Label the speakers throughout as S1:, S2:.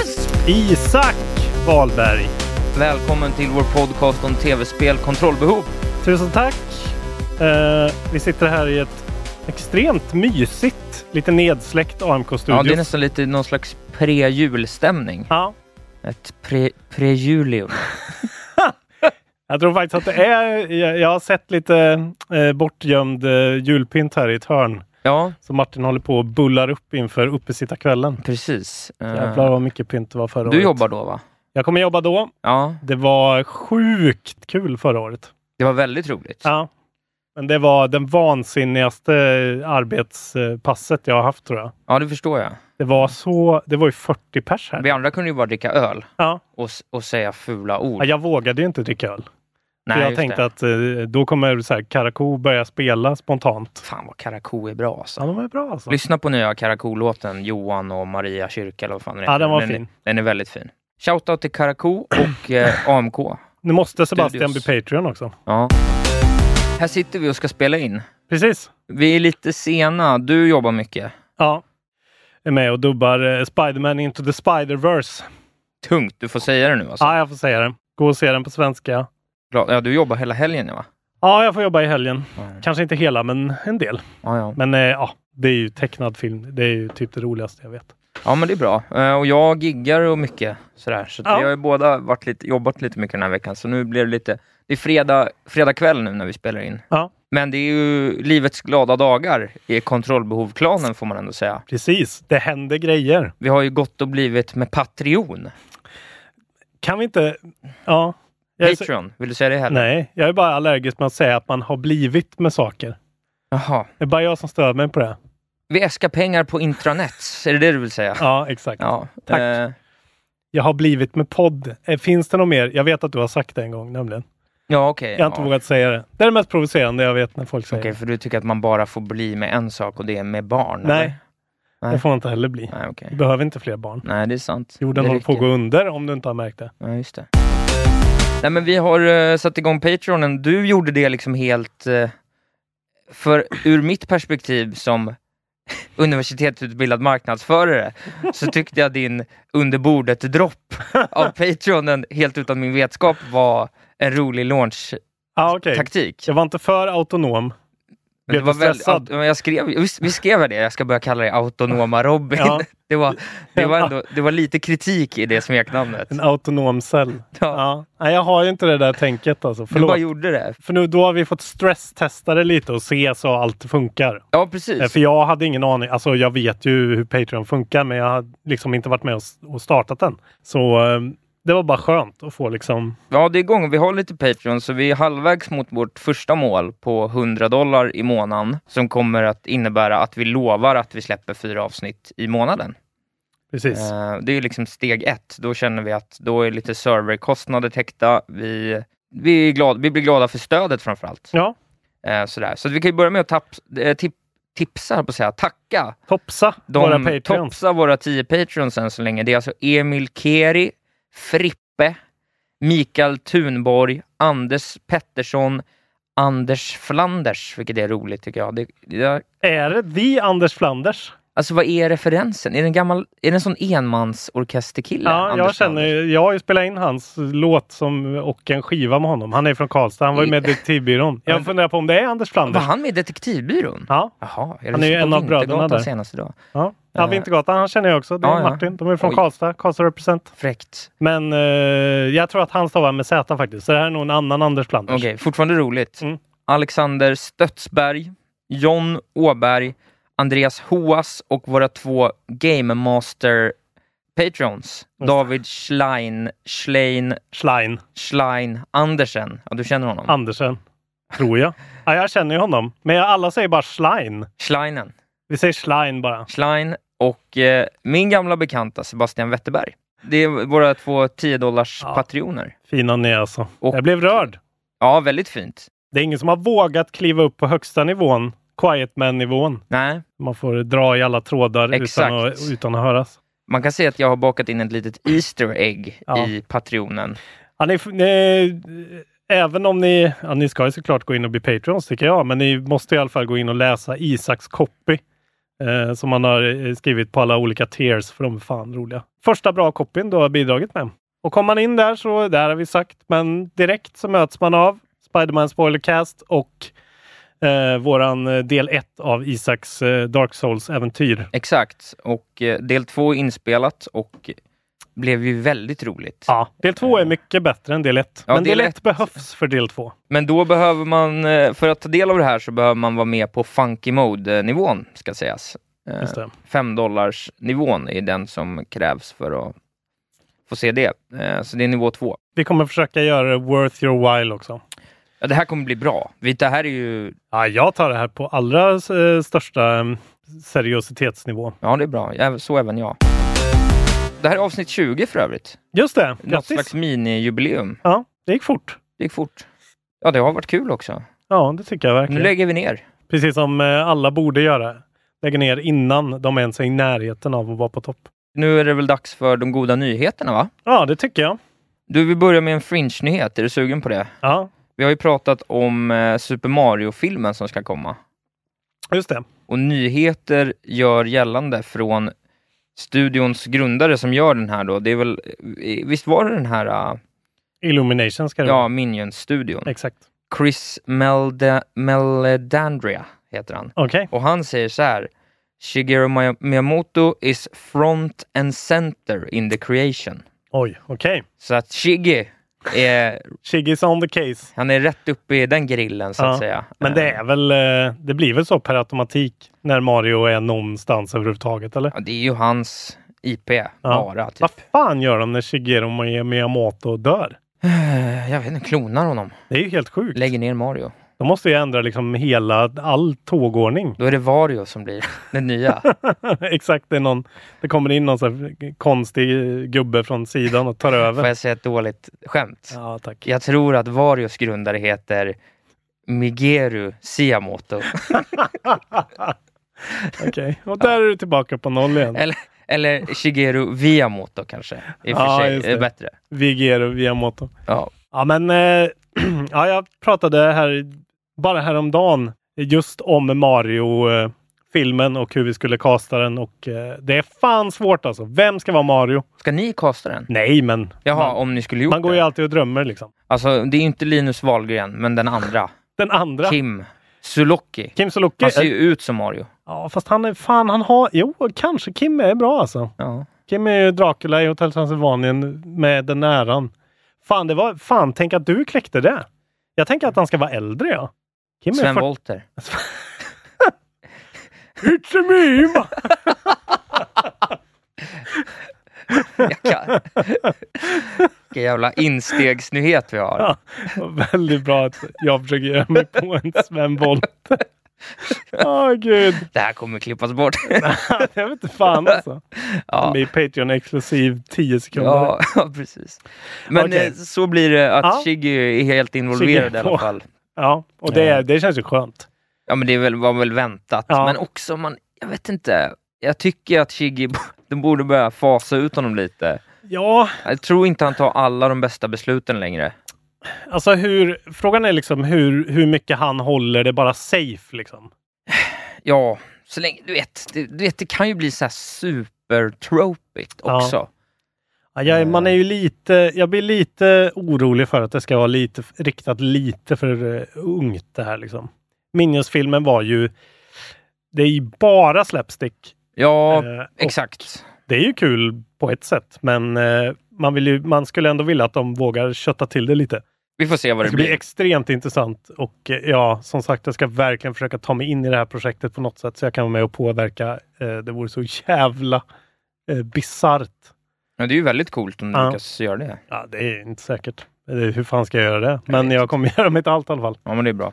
S1: Asp!
S2: Isak Wahlberg.
S3: Välkommen till vår podcast om tv-spel kontrollbehov.
S2: Tusen tack. Eh, vi sitter här i ett extremt mysigt, lite nedsläckt AMK-studio.
S3: Ja, det är nästan lite någon slags pre-julstämning.
S2: Ja.
S3: Ett pre- pre-julium.
S2: Jag tror faktiskt att det är... Jag, jag har sett lite eh, bortgömd eh, julpynt här i ett hörn.
S3: Ja,
S2: Som Martin håller på och bullar upp inför uppesittarkvällen.
S3: precis. Eh,
S2: Jävlar vad mycket pynt det var förra
S3: Du
S2: året.
S3: jobbar då va?
S2: Jag kommer jobba då.
S3: Ja,
S2: Det var sjukt kul förra året.
S3: det var väldigt roligt.
S2: Ja. Men det var den vansinnigaste arbetspasset jag har haft tror jag.
S3: Ja, det förstår jag.
S2: Det var så, det var ju 40 pers här.
S3: Vi andra kunde ju bara dricka öl
S2: Ja.
S3: och, s- och säga fula ord.
S2: Ja, Jag vågade ju inte dricka öl.
S3: Nej,
S2: jag
S3: just
S2: tänkte
S3: det.
S2: att eh, då kommer så här, Karakou börja spela spontant.
S3: Fan vad Karakou är bra alltså.
S2: Ja, de var ju bra alltså.
S3: Lyssna på nya Karakou-låten Johan och Maria Kyrka eller vad fan den
S2: Ja,
S3: heter.
S2: den var
S3: den,
S2: fin.
S3: Den är väldigt fin. Shoutout till Karakou och eh, AMK.
S2: Nu måste Sebastian
S3: Studios.
S2: bli Patreon också.
S3: Ja. Här sitter vi och ska spela in.
S2: Precis.
S3: Vi är lite sena. Du jobbar mycket.
S2: Ja. Är med och dubbar eh, Spiderman into the Spider-Verse.
S3: Tungt. Du får säga det nu alltså.
S2: Ja, jag får säga det. Gå och se den på svenska.
S3: Bra. Ja, du jobbar hela helgen va?
S2: Ja, jag får jobba i helgen.
S3: Mm.
S2: Kanske inte hela, men en del.
S3: Ja, ja.
S2: Men eh, ja, det är ju tecknad film. Det är ju typ det roligaste jag vet.
S3: ja men det är bra. Eh, Och jag giggar och mycket sådär. Så att
S2: Ja.
S3: vi har ju båda varit lite, jobbat lite mycket den här veckan. Så nu blir det lite... Det är fredag, fredag kväll nu när vi spelar in.
S2: Ja.
S3: Men det är ju livets glada dagar i kontrollbehovklanen får man ändå säga.
S2: Precis, det händer grejer.
S3: Vi har ju gått och blivit med Patreon.
S2: Kan vi inte... Ja. Jag är så,
S3: Patreon, vill du säga det heller?
S2: nej, jag är bara allergisk med att säga att man har blivit med saker.
S3: Jaha.
S2: Det är bara jag som stör mig på det.
S3: Vi äskar pengar på intranets, är det det du vill säga?
S2: Ja, exakt.
S3: Ja.
S2: Tack.
S3: Eh,
S2: Jag har blivit med podd. Eh, Finns det något mer? Jag vet att du har sagt det en gång nämligen.
S3: ja, okej.
S2: Jag har inte
S3: ja.
S2: vågat säga det. Det är det mest provocerande jag vet när folk
S3: Okej,
S2: säger
S3: för du tycker att man bara får bli med en sak och det är med barn?
S2: Nej,
S3: Eller?
S2: det.
S3: nej.
S2: Det får man inte heller bli.
S3: Nej, okej.
S2: Vi behöver inte fler barn.
S3: Nej, det är sant.
S2: Jorden
S3: det
S2: håller på att
S3: räcker.
S2: gå under om du inte har märkt det.
S3: Ja, just det. Nej, men vi har eh, satt igång Patreonen. Du gjorde det liksom helt... eh, för ur mitt perspektiv som universitetsutbildad marknadsförare så tyckte jag din under bordet-dropp av Patreonen helt utan min vetskap var en rolig launch-taktik.
S2: Ah, okej. Jag var inte för autonom.
S3: Men det
S2: Blev
S3: var
S2: du
S3: väl,
S2: stressad?
S3: ja, men jag skrev, vi, vi skrev det, jag ska börja kalla dig Autonoma Robin.
S2: Ja.
S3: Det, var, det, var ändå, det var lite kritik i det smeknamnet.
S2: En autonom cell.
S3: Ja.
S2: Ja. Nej, jag har ju inte det där tänket alltså.
S3: Du bara
S2: Förlåt.
S3: gjorde det.
S2: För nu, då har vi fått stresstesta det lite och se så allt funkar.
S3: Ja,
S2: Eh,
S3: precis.
S2: För jag hade ingen aning. Alltså jag vet ju hur Patreon funkar men jag har liksom inte varit med och s- och startat den. Så eh, det var bara skönt att få liksom...
S3: Ja, det är igång. Vi har lite Patreon, så vi är halvvägs mot vårt första mål på 100 dollar i månaden som kommer att innebära att vi lovar att vi släpper fyra avsnitt i månaden.
S2: Precis.
S3: Eh, det är liksom steg ett. Då känner vi att då är lite serverkostnader täckta. Vi, vi, är glad, vi blir glada för stödet framförallt.
S2: Ja,
S3: Eh, sådär. Så att vi kan ju börja med att tapp, eh, tip, tipsa, höll på att säga, tacka
S2: topsa
S3: de
S2: våra Patreons.
S3: topsa våra 10 patreons än så länge. Det är alltså Emil Keri, Frippe, Mikael Thunborg, Anders Pettersson, Anders Flanders, vilket är roligt tycker jag. Det, jag
S2: Är det The Anders Flanders?
S3: alltså vad är referensen? Är det en gammal, är det en sån enmansorkesterkille?
S2: Ja, jag
S3: Anders
S2: känner,
S3: Flanders?
S2: jag har ju spelat in hans låt som, och en skiva med honom. Han är från Karlstad, han var ju med i Detektivbyrån. Jag funderar på om det är Anders
S3: Var
S2: Flanders.
S3: han med i Detektivbyrån?
S2: Ja,
S3: Jaha, jag
S2: Han är ju
S3: lyssnade på
S2: en av bröderna
S3: Vintergatan
S2: där.
S3: senast idag.
S2: ja. ja
S3: Eh.
S2: Vintergatan, han känner jag också. Det är
S3: Ja, ja.
S2: Martin, de är från
S3: Oj.
S2: Karlstad, Karlstad represent.
S3: Fräckt.
S2: Men eh, jag tror att han stavar med Z faktiskt, så det här är nog en annan Anders Flanders.
S3: Okej, fortfarande roligt.
S2: Mm.
S3: Alexander Stötsberg, John Åberg, Andreas Hoas och våra två Game Master Patrons. David Schlein, Schlein,
S2: Schlein
S3: Schlein Andersen. Ja, du känner honom.
S2: Andersen, tror jag. ja, jag känner ju honom, men jag- alla säger bara Schlein.
S3: Schleinen.
S2: Vi säger Schlein bara.
S3: Schlein och eh, min gamla bekanta Sebastian Wetterberg. Det är våra två 10 dollars
S2: Ja.
S3: patrioner.
S2: Fina ni är alltså.
S3: Och-
S2: Jag blev rörd.
S3: Ja, väldigt fint.
S2: Det är ingen som har vågat kliva upp på högsta nivån, quiet man-nivån.
S3: Nej,
S2: Man får dra i alla trådar utan
S3: Exakt.
S2: att, utan att höras.
S3: man kan säga att jag har bakat in ett litet Easter egg
S2: Ja.
S3: i patronen.
S2: Ja, ni, f- ni, även om ni, ja, ni ska ju såklart gå in och bli Patreons tycker jag, men ni måste i alla fall gå in och läsa Isaks copy eh, som han har eh, skrivit på alla olika tiers, för de är fan roliga. Första bra copyn du har bidragit med. Och kommer man in där så, där har vi sagt, men direkt så möts man av Spiderman Spoilercast och eh, våran eh, del 1 av Isaks eh, Dark Souls-äventyr.
S3: Exakt, och eh, del två är inspelat och blev ju väldigt roligt.
S2: Ja, del 2 är mycket bättre än del 1,
S3: Eh. Ja,
S2: men del
S3: del
S2: 1 behövs för del 2.
S3: Men då behöver man, eh, för att ta del av det här så behöver man vara med på funky mode-nivån, ska sägas. Eh,
S2: Just det.
S3: 5 dollars nivån är den som krävs för att få se det. Eh, Så det är nivå två.
S2: Vi kommer försöka göra det worth your while också.
S3: Ja, det här kommer bli bra. Vi- Det här är ju...
S2: Ja, jag tar det här på allra eh, största eh, seriositetsnivå.
S3: Ja, det är bra. Ä- Så även jag. Det här är avsnitt 20 för övrigt.
S2: Just det,
S3: Något
S2: grattis!
S3: slags minijubileum.
S2: Ja, det gick fort.
S3: Det gick fort. Ja, det har varit kul också.
S2: Ja, det tycker jag
S3: Nu
S2: verkligen.
S3: lägger vi ner.
S2: Precis som eh, alla borde göra. Lägga ner innan de ens är i närheten av att vara på topp.
S3: Nu är det väl dags för de goda nyheterna, va?
S2: Ja, det tycker jag.
S3: Du, vi börjar med en Fringe-nyhet. Är du sugen på det?
S2: Ja,
S3: Vi har ju pratat om eh, Super Mario-filmen som ska komma.
S2: just det.
S3: Och nyheter gör gällande från studions grundare som gör den här då. Det är väl, eh, visst var det den här, eh,
S2: Illumination ska det
S3: ja,
S2: vara.
S3: Minions-studion?
S2: Exakt.
S3: Chris Melda, Meledandria heter han.
S2: Okej.
S3: Och han säger så här. Shigeru Mi- Miyamoto is front and center in the creation.
S2: Oj, okej.
S3: Så att Shige är,
S2: Shiggy's on the case.
S3: han är rätt uppe i den grillen så att
S2: Ja,
S3: säga.
S2: Men det är väl, eh, det blir väl så per automatik när Mario är någonstans överhuvudtaget, eller?
S3: Ja, det är ju hans IP bara. Typ.
S2: Vad fan gör de när Shigeru Mi- Miyamoto dör?
S3: Eh, Jag vet inte, klonar honom.
S2: Det är ju helt sjukt.
S3: Lägger ner Mario.
S2: De måste ju ändra liksom hela, all tågordning.
S3: Då är det Vario som blir den nya.
S2: Exakt, det, är någon, det kommer in någon så här konstig eh, gubbe från sidan och tar
S3: Får
S2: över.
S3: jag säga ett dåligt skämt?
S2: Ja, tack.
S3: Jag tror att Varios grundare heter Migeru Siamoto.
S2: Okej, och där är du tillbaka på noll igen.
S3: Eller, eller Shigeru Viamoto kanske. I och för
S2: Ja,
S3: sig
S2: just
S3: är
S2: det.
S3: bättre.
S2: Vigero Viamoto.
S3: Ja.
S2: Ja, men eh, ja, jag pratade här bara häromdagen just om Mario-filmen och hur vi skulle kasta den och eh, det är fan svårt alltså. Vem ska vara Mario?
S3: Ska ni kasta den?
S2: Nej, men
S3: Jaha,
S2: man,
S3: om ni skulle gjort
S2: man går ju
S3: det.
S2: alltid och drömmer liksom.
S3: Alltså, det är ju inte Linus Wahlgren, men den andra.
S2: Den andra, Kim,
S3: Kim Sulocki.
S2: Sulocki. eh,
S3: Han ser ju ut som Mario.
S2: Ja, fast han är fan, han har, jo, kanske Kim är bra alltså.
S3: Ja.
S2: Kim är ju Dracula i Hotel Transylvanien med den äran. Fan, det var, fan, tänk att du kläckte det. Jag tänker att han ska vara äldre, ja. Kim är
S3: Sven
S2: 40
S3: Wollter.
S2: It's a meme!
S3: Jag kan- Vilken jävla instegsnyhet vi har.
S2: Ja, vad väldigt bra att jag försöker göra mig på en Sven Wollter. Åh gud,
S3: Det här kommer klippas bort.
S2: jag vet inte fan alltså.
S3: Ja.
S2: Med Patreon exklusiv 10 sekunder.
S3: Ja, ja, precis. Men
S2: Okej.
S3: eh, så blir det att
S2: Ja.
S3: Shiggy är helt involverad
S2: Shiggy
S3: i
S2: på.
S3: alla fall.
S2: Ja, och det, är- det känns ju skönt.
S3: Ja, men det är väl, var väl väntat.
S2: Ja.
S3: Men också, man, jag vet inte. Jag tycker att Shiggy, de borde börja fasa ut honom lite.
S2: Ja,
S3: Jag tror inte han tar alla de bästa besluten längre.
S2: Alltså hur, frågan är liksom hur, hur mycket han håller det bara safe liksom.
S3: Ja, så länge, du vet, det, du vet, det kan ju bli så här supertropigt
S2: Ja.
S3: också.
S2: Ja, jag, man är ju lite, jag blir lite orolig för att det ska vara lite, riktat lite för eh, ungt det här liksom. Minions-filmen var ju, det är ju bara slapstick.
S3: Ja,
S2: Eh, och
S3: exakt.
S2: Det är ju kul på ett sätt, men eh, man, vill ju, man skulle ändå vilja att de vågar kötta till det lite.
S3: Vi får se vad
S2: Det
S3: det
S2: ska bli
S3: blir.
S2: extremt intressant och eh, ja, som sagt, jag ska verkligen försöka ta mig in i det här projektet på något sätt så jag kan vara med och påverka. Eh, det vore så jävla eh, bisarrt.
S3: Men det är ju väldigt coolt om du
S2: Ja.
S3: lyckas göra det.
S2: Ja, det är inte säkert. Eh, Hur fan ska jag göra det? Men jag kommer göra mitt allt i alla fall.
S3: Ja, men det är bra.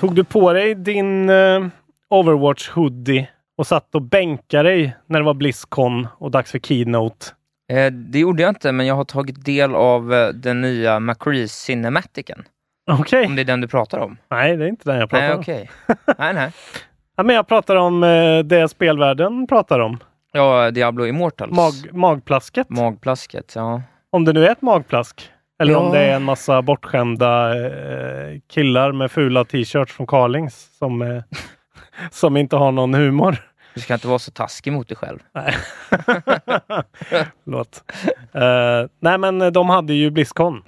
S2: Tog du på dig din eh, Overwatch-hoodie och satt och bänkade dig när det var Blizzcon och dags för Keynote?
S3: Eh, det gjorde jag inte, men jag har tagit del av eh, den nya McCree Cinematicen.
S2: Okej.
S3: Om det är den du pratar om?
S2: Nej, det är inte den jag Eh. pratar
S3: Mm. Nej,
S2: om.
S3: okej. nej, nej.
S2: Ja, men jag pratar om eh, det spelvärlden pratar om.
S3: Ja, Diablo Immortals.
S2: Mag- magplasket.
S3: Magplasket, ja.
S2: Om det nu är ett magplask. Eller
S3: Ja.
S2: om det är en massa bortskämda eh, killar med fula t-shirts från Carlings som, eh, som inte har någon humor.
S3: Du ska inte vara så taskig mot dig själv.
S2: Nej. Låt. Eh, nej, men eh, de hade ju Blizzcon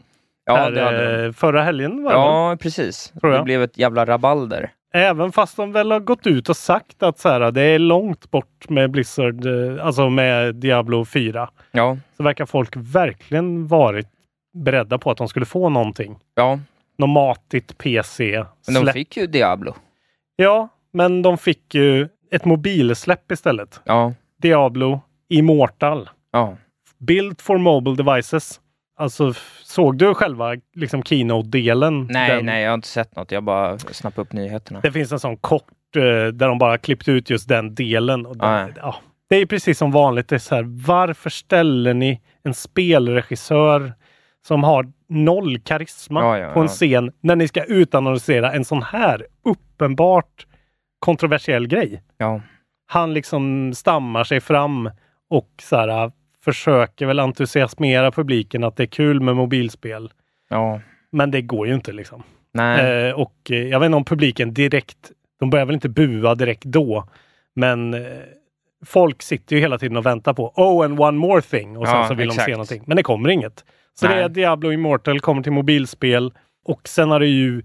S3: Ja,
S2: här,
S3: det hade de.
S2: eh, förra helgen. Var det väl?
S3: Ja, precis.
S2: Tror jag.
S3: Det blev ett jävla rabalder.
S2: Även fast de väl har gått ut och sagt att så här, det är långt bort med Blizzard, eh, alltså med Diablo 4,
S3: Ja,
S2: så verkar folk verkligen varit beredda på att de skulle få någonting.
S3: ja.
S2: Något matigt PC.
S3: men de
S2: släpp.
S3: fick ju Diablo.
S2: Ja, men de fick ju ett mobilsläpp istället.
S3: Ja,
S2: Diablo Immortal.
S3: ja.
S2: Build for mobile devices. Alltså, f- såg du själva liksom keynote-delen?
S3: Nej,
S2: Den-
S3: nej, jag har inte sett något. Jag bara snappade upp nyheterna.
S2: Det finns en sån kort eh, där de bara klippt ut just den delen. Och den,
S3: Nej.
S2: ja, det är ju precis som vanligt. Det är så här, varför ställer ni en spelregissör som har noll karisma
S3: Ja, ja,
S2: på en
S3: ja.
S2: scen när ni ska utannonsera en sån här uppenbart kontroversiell grej?
S3: Ja,
S2: Han liksom stammar sig fram och så här, äh, försöker väl entusiasmera publiken att det är kul med mobilspel.
S3: ja.
S2: Men det går ju inte liksom.
S3: Nej,
S2: Eh, och eh, jag vet inte om publiken direkt, de börjar väl inte bua direkt då, men eh, folk sitter ju hela tiden och väntar på oh and one more thing och sen
S3: Ja,
S2: så vill de
S3: exakt.
S2: se någonting. Men det kommer inget. Så det
S3: Nej.
S2: är Diablo Immortal kommer till mobilspel och sen har det ju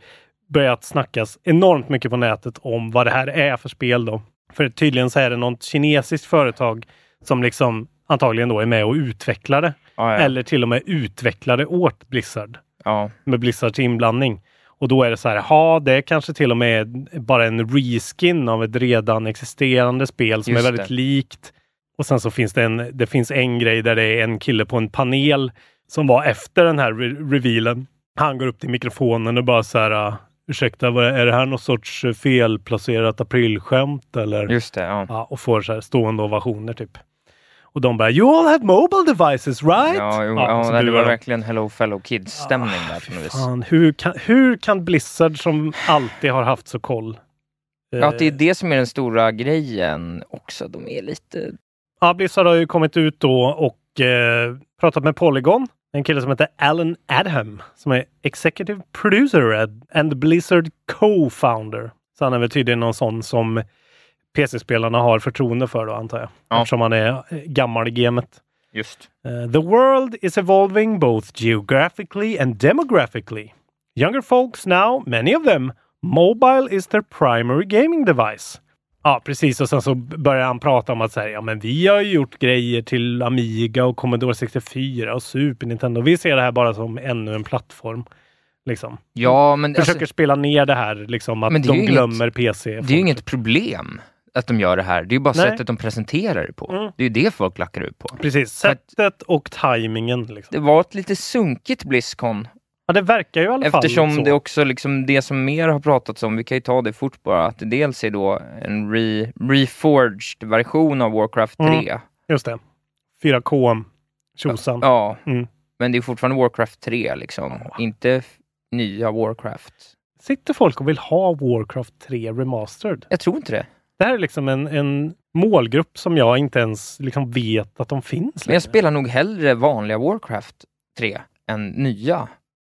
S2: börjat snackas enormt mycket på nätet om vad det här är för spel då. För tydligen så är det något kinesiskt företag som liksom antagligen då är med och utvecklar det.
S3: Ja, ja.
S2: Eller till och med utvecklar det åt Blizzard
S3: ja.
S2: med Blizzards inblandning. Och då är det så här, ja, det är kanske till och med bara en reskin av ett redan existerande spel som
S3: Just
S2: är väldigt
S3: det.
S2: likt. Och sen så finns det en, det finns en grej där det är en kille på en panel som var efter den här re- revealen. Han går upp till mikrofonen och bara så här, "Ah, ursäkta, vad är det här någon sorts eh, felplacerat aprilskämt eller?
S3: Just det, ja.
S2: Ja, och får så här stående ovationer typ. Och de bara, you all have mobile devices right?
S3: Ja, jo,
S2: och så
S3: ja, det
S2: buar
S3: var
S2: de.
S3: verkligen Hello Fellow Kids-stämning där på något vis.
S2: Ah, Fan, hur, kan, hur kan Blizzard som alltid har haft så koll?
S3: Ja, att det är
S2: Eh,
S3: det som är den stora grejen också. De är lite...
S2: ja, Blizzard har ju kommit ut då och eh, pratat med Polygon. En kille som heter Alan Adham som är Executive Producer at- and Blizzard Co-Founder. Så han är väl tydligen någon sån som PC-spelarna har förtroende för då, antar jag.
S3: Ja.
S2: Eftersom han är eh, gammal i gamet.
S3: Just.
S2: Uh, the world is evolving both geographically and demographically. Younger folks now, many of them, mobile is their primary gaming device. Ja, precis. Och sen så börjar han prata om att säga, ja, men vi har ju gjort grejer till Amiga och Commodore 64 och Super Nintendo. Vi ser det här bara som ännu en plattform. Liksom.
S3: Ja, men alltså,
S2: Försöker spela ner det här, liksom att
S3: Men det är
S2: de
S3: ju inget-
S2: glömmer PC.
S3: det är ju inget problem att de gör det här. Det är ju bara
S2: Nej.
S3: sättet de presenterar det på.
S2: Mm.
S3: Det är ju det folk lackar ut på.
S2: Precis. Sättet och tajmingen. Liksom.
S3: Det var ett lite sunkigt Blizzcon
S2: Ja, det verkar ju i alla fall
S3: Eftersom
S2: så.
S3: det också liksom det som mer har pratats om, vi kan ju ta det fort bara, att det dels är då en re, reforged version av Warcraft 3.
S2: Mm. Just det. 4K. Tjosan.
S3: Ja,
S2: Mm.
S3: men det är fortfarande Warcraft 3 liksom, inte f- nya Warcraft.
S2: Sitter folk och vill ha Warcraft 3 Remastered?
S3: Jag tror inte det.
S2: Det här är liksom en, en målgrupp som jag inte ens liksom vet att de finns liksom.
S3: Men jag
S2: längre.
S3: spelar nog hellre vanliga Warcraft 3 än nya.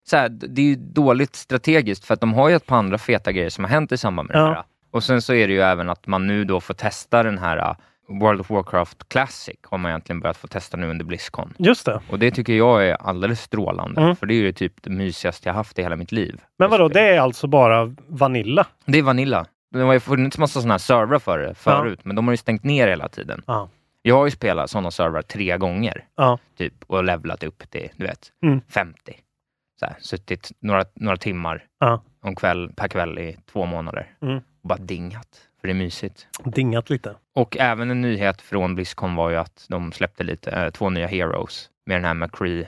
S3: så här, det är ju dåligt strategiskt för att de har ju ett par andra feta grejer som har hänt i samband med
S2: Ja.
S3: det här. Och sen så är det ju även att man nu då får testa den här eh, World of Warcraft Classic har man egentligen börjat få testa nu under Blizzcon.
S2: Just det.
S3: Och det tycker jag är alldeles strålande,
S2: Mm.
S3: för det är ju typ det mysigaste jag haft i hela mitt liv.
S2: Men vadå, det är alltså bara Vanilla?
S3: Det är Vanilla. Det har ju funnits massa sådana här servrar för det förut, men de har ju stängt ner hela tiden.
S2: Ja.
S3: Jag har ju spelat sådana servrar tre gånger,
S2: Ja.
S3: typ, och levlat upp till, du vet,
S2: Mm.
S3: 50. Så här, suttit några, några timmar
S2: Ja.
S3: om kväll, per kväll i två månader
S2: Mm.
S3: och bara dingat, för det är mysigt.
S2: Dingat lite.
S3: Och även en nyhet från Blizzcon var ju att de släppte lite, eh, två nya Heroes med den här McCree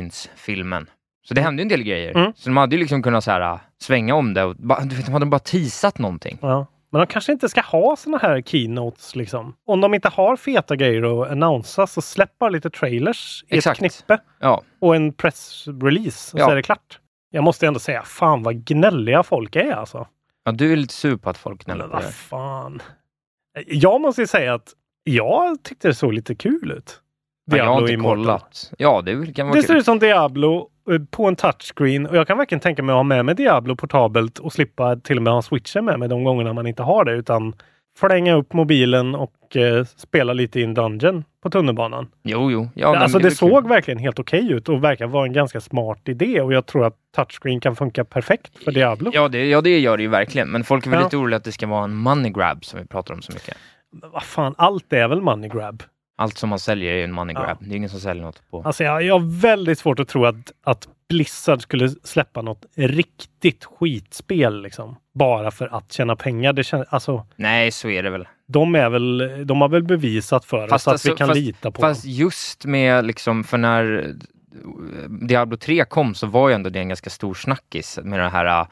S3: Origins-filmen. Så det hände ju en del grejer.
S2: Mm.
S3: Så de hade ju liksom kunnat så här, äh, svänga om det och ba, du vet, de hade bara teasat någonting.
S2: Ja. Men de kanske inte ska ha såna här keynotes liksom. Om de inte har feta grejer att annonsa så släpp bara lite trailers i
S3: Exakt.
S2: ett knippe
S3: Ja,
S2: och en pressrelease och
S3: Ja.
S2: så är det klart. Jag måste ändå säga, fan vad gnälliga folk är alltså.
S3: ja du är lite sur på att folk gnäller
S2: Men
S3: på
S2: vad
S3: det.
S2: fan. Jag måste ju säga att jag tyckte det såg lite kul ut.
S3: Ja, jag har inte
S2: Immortal.
S3: kollat. Ja, det kan vara
S2: Det ser
S3: kul.
S2: ut som Diablo eh, på en touchscreen och jag kan verkligen tänka mig att ha med mig Diablo portabelt och slippa till och med ha switchen med mig de gångerna man inte har det utan flänga upp mobilen och eh, spela lite i en dungeon på tunnelbanan.
S3: Jo, jo. Ja, men
S2: alltså det,
S3: är väl kul.
S2: såg verkligen helt okej ut och verkar vara en ganska smart idé och jag tror att touchscreen kan funka perfekt för Diablo.
S3: Ja det, ja, det gör det ju verkligen. Men folk är väl
S2: Ja.
S3: lite oroliga att det ska vara en money grab som vi pratar om så mycket.
S2: Men vad fan, allt är väl money grab?
S3: Allt som man säljer är ju en money
S2: Ja.
S3: grab. Det är ingen som säljer något på...
S2: Alltså jag, jag har väldigt svårt att tro att, att Blizzard skulle släppa något riktigt skitspel liksom. Bara för att tjäna pengar. Det känns, alltså,
S3: Nej, så är det väl.
S2: de, är väl, de har väl bevisat för oss att
S3: alltså,
S2: vi kan
S3: fast,
S2: lita på
S3: Fast
S2: dem.
S3: just med liksom, för när eh, Diablo 3 kom så var ju ändå det en ganska stor snackis med det här eh,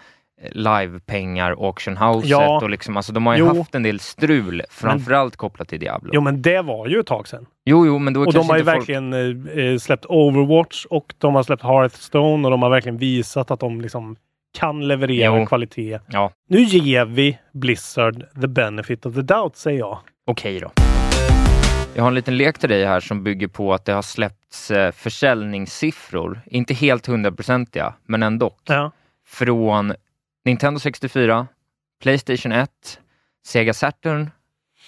S3: livepengar, auctionhouset
S2: Ja.
S3: och liksom, alltså de har ju
S2: Jo.
S3: haft en del strul, framförallt kopplat till Diablo.
S2: Jo, men det var ju ett tag sedan.
S3: Jo, jo, men då
S2: Och de
S3: kanske
S2: har ju
S3: inte folk...
S2: verkligen eh, eh, släppt Overwatch och de har släppt Hearthstone och de har verkligen visat att de liksom kan leverera
S3: Jo.
S2: kvalitet.
S3: Ja,
S2: Nu ger vi Blizzard the benefit of the doubt, säger jag.
S3: okej då. Jag har en liten lek till dig här som bygger på att det har släppts eh, försäljningssiffror, inte helt hundraprocentiga, men ändå.
S2: Ja.
S3: från Nintendo 64, Playstation 1, Sega Saturn,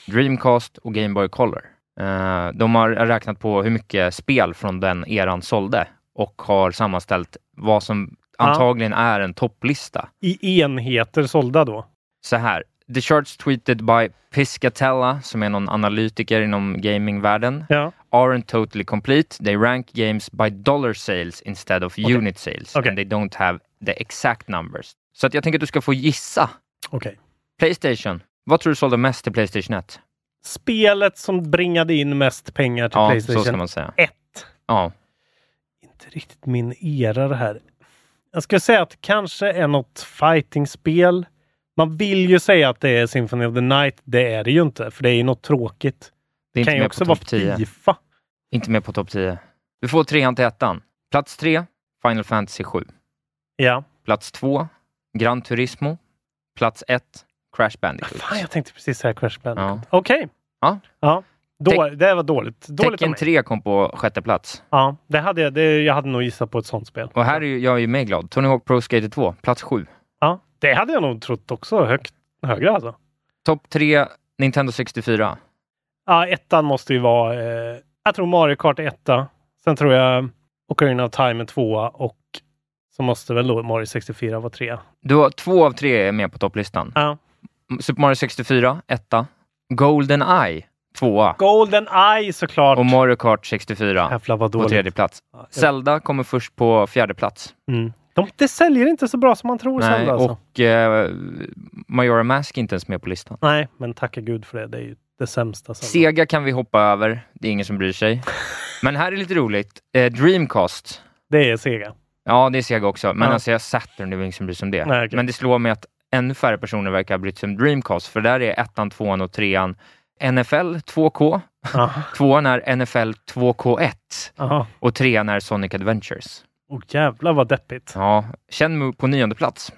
S3: Dreamcast och Game Boy Color. Eh, de har räknat på hur mycket spel från den eran sålde och har sammanställt vad som antagligen är en topplista.
S2: I enheter sålda då.
S3: Så här, the charts tweeted by Piscatella, som är någon analytiker inom gamingvärlden,
S2: Ja.
S3: aren't totally complete. They rank games by dollar sales instead of unit sales.
S2: Okej.
S3: And they don't have the exact numbers. Så att jag tänker att du ska få gissa.
S2: Okej.
S3: Playstation. Vad tror du sålde mest till Playstation 1?
S2: Spelet som bringade in mest pengar till
S3: Ja, så ska
S2: Playstation
S3: man säga.
S2: 1.
S3: Ja,
S2: Inte riktigt min era det här. Jag skulle säga att det kanske är något fightingspel. Man vill ju säga att det är Symphony of the Night. Det är det ju inte, för det är ju något tråkigt.
S3: det är
S2: Det
S3: inte
S2: kan ju
S3: med
S2: också
S3: på
S2: vara
S3: topp 10.
S2: Fifa.
S3: Inte med på topp 10. Du får trean till ettan. Plats tre, Final Fantasy 7.
S2: Ja.
S3: Plats två, Gran Turismo. Plats ett, Crash Bandicoot.
S2: Fan, jag tänkte precis säga Crash Bandicoot.
S3: Ja.
S2: Okej.
S3: Ja.
S2: ja. Då, det var dåligt. Dåligt av
S3: Tekken
S2: mig.
S3: 3 kom på sjätte plats.
S2: Ja, det hade jag. Det, jag hade nog gissat på ett sånt spel.
S3: Och här är ju, jag är ju med glad. Tony Hawk Pro Skater 2, plats sju.
S2: Ja, det hade jag nog trott också. Högt, högre alltså.
S3: Topp tre, Nintendo 64.
S2: Ja, ettan måste ju vara... Eh, jag tror Mario Kart är etta. Sen tror jag Ocarina of Time är tvåa och så måste väl då Mario 64 vara trea.
S3: Du har två av tre är med på topplistan.
S2: Ja.
S3: M- Super Mario 64, etta. Golden Eye, tvåa.
S2: Golden Eye såklart!
S3: Och Mario Kart 64
S2: Jävlar vad
S3: på
S2: dåligt.
S3: tredje plats. Zelda kommer först på fjärde plats.
S2: Mm. De, det säljer inte så bra som man tror.
S3: Nej,
S2: Nej, alltså.
S3: och eh, Majora Mask är inte ens med på listan.
S2: Nej, men tacka gud för det. Det är ju det sämsta. Zelda.
S3: Sega kan vi hoppa över, det är ingen som bryr sig. Men här är lite roligt. Eh, Dreamcast,
S2: Det är Sega.
S3: ja det är Sega också, men
S2: Ja.
S3: alltså jag Saturn, det är ingen som bryr sig om det.
S2: Nej, okej.
S3: Men det slår mig att ännu färre personer verkar ha brytt sig om Dreamcast, för där är ettan, tvåan och trean NFL 2K,
S2: Ja.
S3: tvåan är NFL 2K1
S2: Jaha.
S3: och trean är Sonic Adventures.
S2: Och jävlar vad deppigt.
S3: Ja, Shenmue på nionde plats.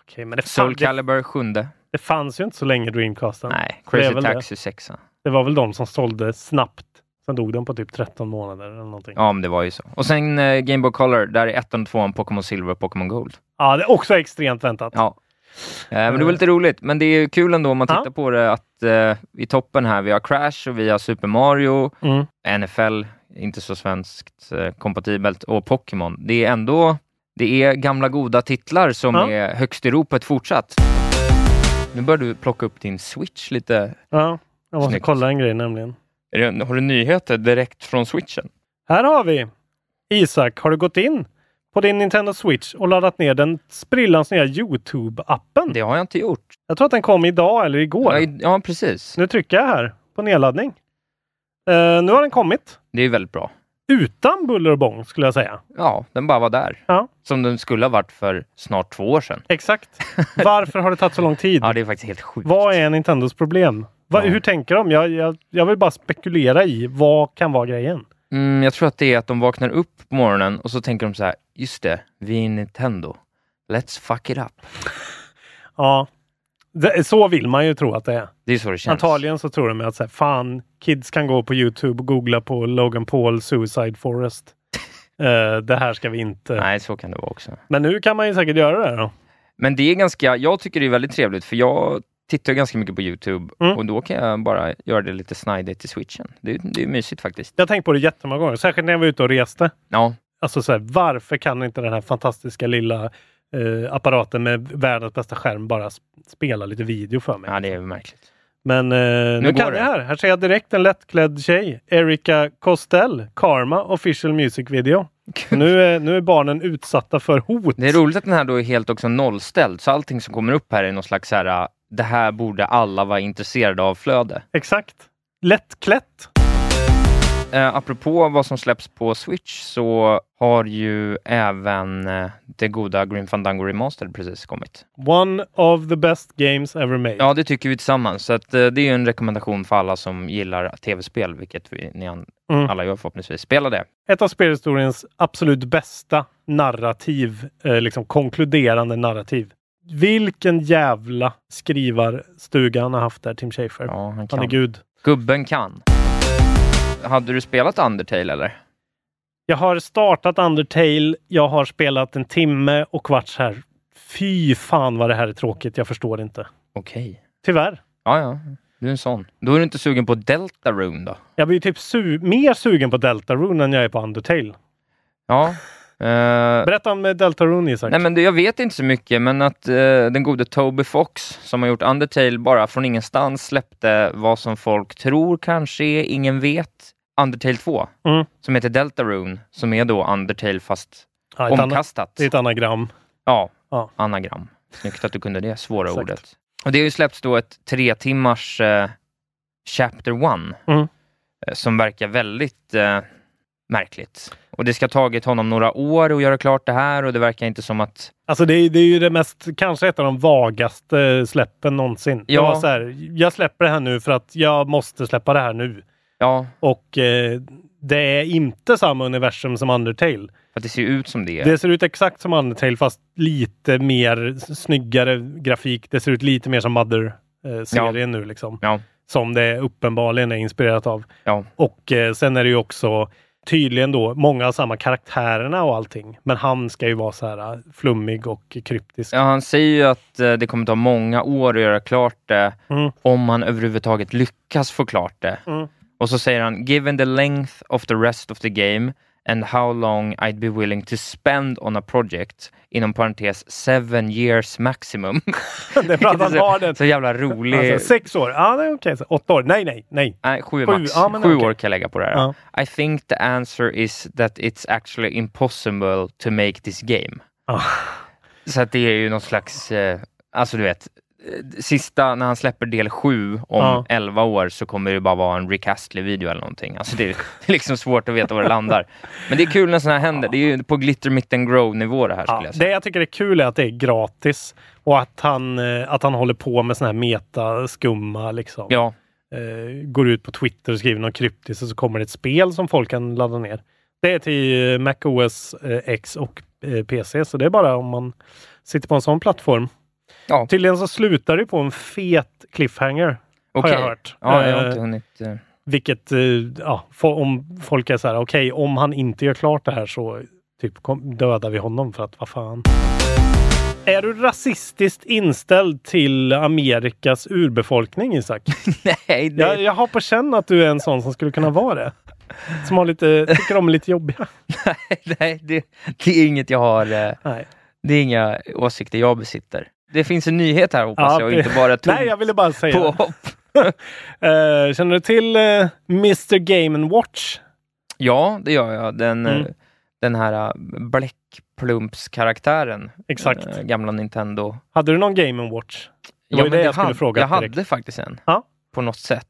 S2: Okej, men det, fan,
S3: Soul
S2: det,
S3: Calibur sjunde.
S2: det fanns ju inte så länge Dreamcasten.
S3: Nej,
S2: Det är
S3: Crazy
S2: väl det.
S3: Taxi sexa.
S2: Det var väl de som sålde snabbt Sen dog den på typ 13 månader eller någonting. Ja,
S3: Ja, men det var ju så. Och sen eh, Game Boy Color, där är ettan och tvåan Pokémon Silver och Pokémon Gold.
S2: det är också extremt väntat.
S3: Ja. Eh, men det var lite roligt, men det är ju kul ändå om man
S2: Ja.
S3: tittar på det att eh, i toppen här, vi har Crash och vi har Super Mario,
S2: Mm.
S3: NFL, inte så svenskt eh, kompatibelt, och Pokémon. Det är ändå, det är gamla goda titlar som
S2: Ja.
S3: är högst i ropet fortsatt. Nu börjar du plocka upp din Switch lite.
S2: Ja, jag måste
S3: Snyggt.
S2: kolla en grej nämligen.
S3: Är det, har du nyheter direkt från Switchen?
S2: Här har vi! Isak, har du gått in på din Nintendo Switch och laddat ner den sprillans nya Youtube-appen?
S3: Det har jag inte gjort.
S2: Jag tror att den kom idag eller igår.
S3: Ja, i- ja, precis.
S2: Nu trycker jag här på nedladdning. Eh, nu har den kommit.
S3: Det är väldigt bra.
S2: Utan buller och bång skulle jag säga.
S3: Ja, den bara var där.
S2: Ja.
S3: Som den skulle ha varit för snart två år sedan.
S2: Exakt. Varför har det tagit så lång tid?
S3: Ja, det är faktiskt helt sjukt.
S2: Vad är Nintendos problem? Va, Hur tänker de? Jag, jag, jag vill bara spekulera i vad kan vara grejen.
S3: Mm, jag tror att det är att de vaknar upp på morgonen och så tänker de så här, just det, vi är Nintendo. Let's fuck it up.
S2: Ja, det, så vill man ju tro att det är.
S3: Det är så det känns.
S2: Antagligen så tror de att så här, fan, kids kan gå på Youtube och googla på Logan Paul Suicide Forest. Eh, det här ska vi inte.
S3: Nej, så kan det vara också.
S2: Men nu kan man ju säkert göra det då.
S3: Men det är ganska, jag tycker det är väldigt trevligt för jag tittar ganska mycket på Youtube
S2: Mm.
S3: och då kan jag bara göra det lite snidigt i switchen. Det, det är mysigt faktiskt.
S2: Jag har tänkt på det jättemånga gånger, särskilt när jag var ute och reste.
S3: Ja,
S2: Alltså så här, varför kan inte den här fantastiska lilla eh, apparaten med världens bästa skärm bara sp- spela lite video för mig?
S3: ja det är märkligt.
S2: Men eh, nu,
S3: går
S2: kan
S3: det.
S2: jag här. Här ser jag direkt en lättklädd tjej. Erika Costell, Karma Official Music Video. Nu är, nu är barnen utsatta för hot.
S3: Det är roligt att den här då är helt också nollställd, så allting som kommer upp här är någon slags så här, det här borde alla vara intresserade av flöde.
S2: Exakt. Lättklätt.
S3: Eh, apropå vad som släpps på Switch så har ju även eh, det goda Grim Fandango Remastered precis kommit.
S2: One of the best games ever made.
S3: Ja, det tycker vi tillsammans. Så att, eh, det är ju en rekommendation för alla som gillar tv-spel, vilket vi, ni an-
S2: Mm.
S3: alla gör förhoppningsvis. Spela det.
S2: Ett av spelhistoriens absolut bästa narrativ, eh, liksom konkluderande narrativ. Vilken jävla skrivarstuga han har haft där, Tim Schafer.
S3: Ja, han
S2: han är
S3: kan.
S2: gud.
S3: Gubben kan. Hade du spelat Undertale eller?
S2: Jag har startat Undertale. Jag har spelat en timme och kvarts här. Fy fan vad det här är tråkigt. Jag förstår inte.
S3: Okej.
S2: Tyvärr.
S3: Ja, ja. Du är en sån. Då är du inte sugen på Delta Rune då?
S2: Jag blir typ su- mer sugen på Deltarune än jag är på Undertale.
S3: Ja. Eh,
S2: Berätta om eh, Deltarune Isak.
S3: Nej, men det, jag vet inte så mycket, men att eh, den gode Toby Fox, som har gjort Undertale, bara från ingenstans släppte vad som folk tror kanske är, ingen vet, Undertale 2,
S2: Mm.
S3: som heter Deltarune, som är då Undertale fast
S2: ja, ett annat,
S3: omkastat.
S2: det är ett anagram.
S3: Ja,
S2: Ja.
S3: anagram. Snyggt att du kunde det svåra
S2: Exakt.
S3: ordet. Och det har ju släppts då ett tre timmars eh, Chapter One,
S2: Mm.
S3: eh, som verkar väldigt eh, märkligt. Och det ska ha tagit honom några år att göra klart det här och det verkar inte som att
S2: Alltså det är, det är ju det mest, kanske ett av de vagaste släppen någonsin. Ja.
S3: Ja.
S2: var så här, jag släpper det här nu för att jag måste släppa det här nu.
S3: Ja,
S2: Och eh, det är inte samma universum som Undertale.
S3: för att det ser ju ut som det.
S2: Det ser ut exakt som Undertale fast lite mer s- snyggare grafik. Det ser ut lite mer som Mother-serien nu liksom.
S3: Ja.
S2: Som det uppenbarligen är inspirerat av.
S3: Ja.
S2: Och eh, sen är det ju också tydligen då många av samma karaktärerna och allting. Men han ska ju vara så här eh, flummig och kryptisk.
S3: ja, han säger ju att eh, det kommer ta många år att göra klart det,
S2: Mm.
S3: om man överhuvudtaget lyckas få klart det.
S2: Mm.
S3: Och så säger han, given the length of the rest of the game and how long I'd be willing to spend on a project, inom parentes seven years maximum.
S2: Det är bra att han har den.
S3: så, så jävla rolig.
S2: Alltså, sex år? Ja, det är okej. Så Åtta år? Nej, nej, nej.
S3: Nej, sju,
S2: Sju,
S3: max.
S2: ja, men
S3: sju
S2: okej.
S3: år kan jag lägga på det här. I think the answer is that it's actually impossible to make this game.
S2: Ah.
S3: Så att det är ju någon slags, eh, alltså du vet, eh, sista, när han släpper del sju om
S2: Ja.
S3: 11 år så kommer det bara vara en Rick Astley-video eller någonting. Alltså det är, det är liksom svårt att veta var det landar. Men det är kul när sådana här händer. Det är ju på glitter, mitten, grow-nivå det här skulle
S2: Ja,
S3: jag säga.
S2: det jag tycker är kul är att det är gratis och att han, eh, att han håller på med såna här metaskumma liksom.
S3: Ja,
S2: Eh, går ut på Twitter och skriver något kryptiskt och så kommer det ett spel som folk kan ladda ner. Det är till eh, MacOS eh, X och eh, PC, så det är bara om man sitter på en sån plattform.
S3: Ja.
S2: Tydligen så slutar det på en fet cliffhanger,
S3: okej.
S2: har jag hört.
S3: Ja, jag
S2: Eh,
S3: har inte hunnit... eh,
S2: Vilket, eh, ja, fo- om folk är så här, okej, om han inte gör klart det här så typ kom, dödar vi honom för att vad fan. Är du rasistiskt inställd till Amerikas urbefolkning, Isak?
S3: Nej, det,
S2: Jag, jag har på känn att du är en sån som skulle kunna vara det. Som har lite, tycker de är lite jobbiga.
S3: nej det, det är inget jag har, eh,
S2: Nej.
S3: det är inga åsikter jag besitter. Det finns en nyhet här hoppas jag, och
S2: det-
S3: inte bara tomt
S2: Nej, jag ville bara säga det.
S3: påhopp.
S2: Eh, känner du till eh, Mr Game and Watch?
S3: Ja, det gör jag. Den,
S2: Mm.
S3: eh, den här eh, bläckplumpskaraktären.
S2: Exakt.
S3: eh, Gamla Nintendo.
S2: Hade du någon Game and Watch? var ju det
S3: men
S2: jag skulle
S3: hade-
S2: fråga
S3: Jag
S2: direkt.
S3: hade faktiskt en.
S2: Ja.
S3: På något sätt.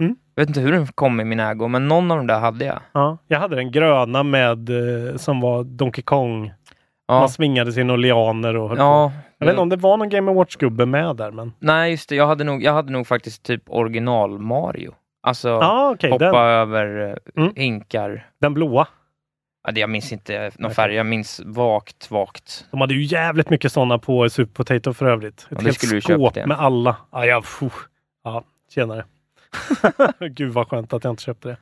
S2: Mm.
S3: Jag vet inte hur den kom i min ägo, men någon av de där hade jag.
S2: Ja. Jag hade den gröna med eh, som var Donkey Kong. Man
S3: Ja.
S2: svingade sina lianer och höll på.
S3: ja
S2: Jag vet inte om det var någon Game and Watch-gubbe med där, men...
S3: Nej, just det. Jag hade nog, jag hade nog faktiskt typ original Mario. Alltså,
S2: Ja, ah, okej.
S3: hoppa
S2: Den,
S3: över eh,
S2: Mm.
S3: hinkar.
S2: den blåa.
S3: Ja, det- Jag minns inte någon färg, jag minns vagt, vagt.
S2: De hade ju jävligt mycket sådana på Super Potato för övrigt. Ett
S3: det
S2: helt
S3: skulle du
S2: skåp
S3: köpt igen.
S2: med alla. Ah, Ja, ja, fuh. ja tjenare. Gud vad skönt att jag inte köpte det.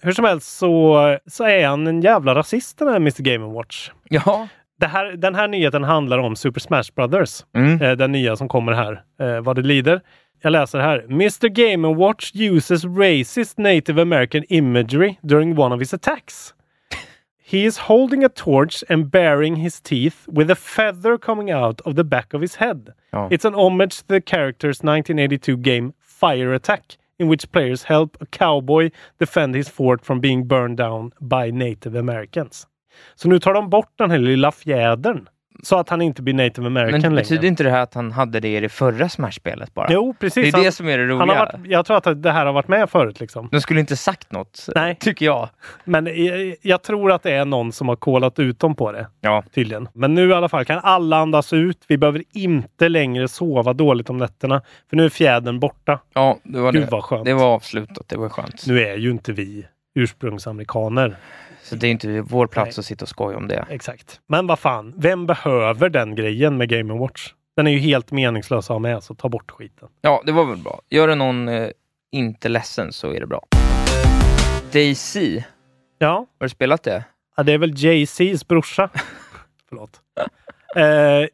S2: Hur som helst så, så är han en jävla rasist den här Mr Game Watch.
S3: Ja.
S2: Det här, den här nyheten handlar om Super Smash Brothers.
S3: Mm.
S2: Eh, den nya som kommer här, eh, vad det lider. Jag läser här. Mr Game Watch uses racist native American imagery during one of his attacks. He is holding a torch and baring his teeth with a feather coming out of the back of his head.
S3: Ja.
S2: It's an homage to the character's 1982 game Fire Attack in which players help a cowboy defend his fort from being burned down by native Americans. Så nu tar de bort den här lilla fjädern så att han inte blir native american
S3: Men
S2: längre.
S3: betyder inte det här att han hade det i det förra Smash-spelet bara?
S2: Jo,
S3: det
S2: precis.
S3: är det som är det
S2: han har
S3: roliga.
S2: varit, jag tror att det här har varit med förut. Liksom.
S3: De skulle inte sagt något,
S2: Nej.
S3: tycker jag.
S2: Men jag, jag tror att det är någon som har kollat ut dem på det.
S3: Ja.
S2: Tydligen. Men nu i alla fall kan alla andas ut. Vi behöver inte längre sova dåligt om nätterna. För nu är fjädern borta.
S3: Ja, det var
S2: Gud
S3: det.
S2: vad skönt.
S3: Det var avslutat, det var skönt.
S2: Nu är ju inte vi ursprungsamerikaner.
S3: Så det är inte vår plats
S2: Nej.
S3: att sitta och skoja om det.
S2: Exakt. Men vad fan, vem behöver den grejen med Game Watch? Den är ju helt meningslös att ha med, så ta bort skiten.
S3: Ja, det var väl bra. Gör det någon eh, inte ledsen så är det bra. Daisy,
S2: Ja,
S3: har du spelat det?
S2: Ja, det är väl JC's brorsa. Förlåt. Eh,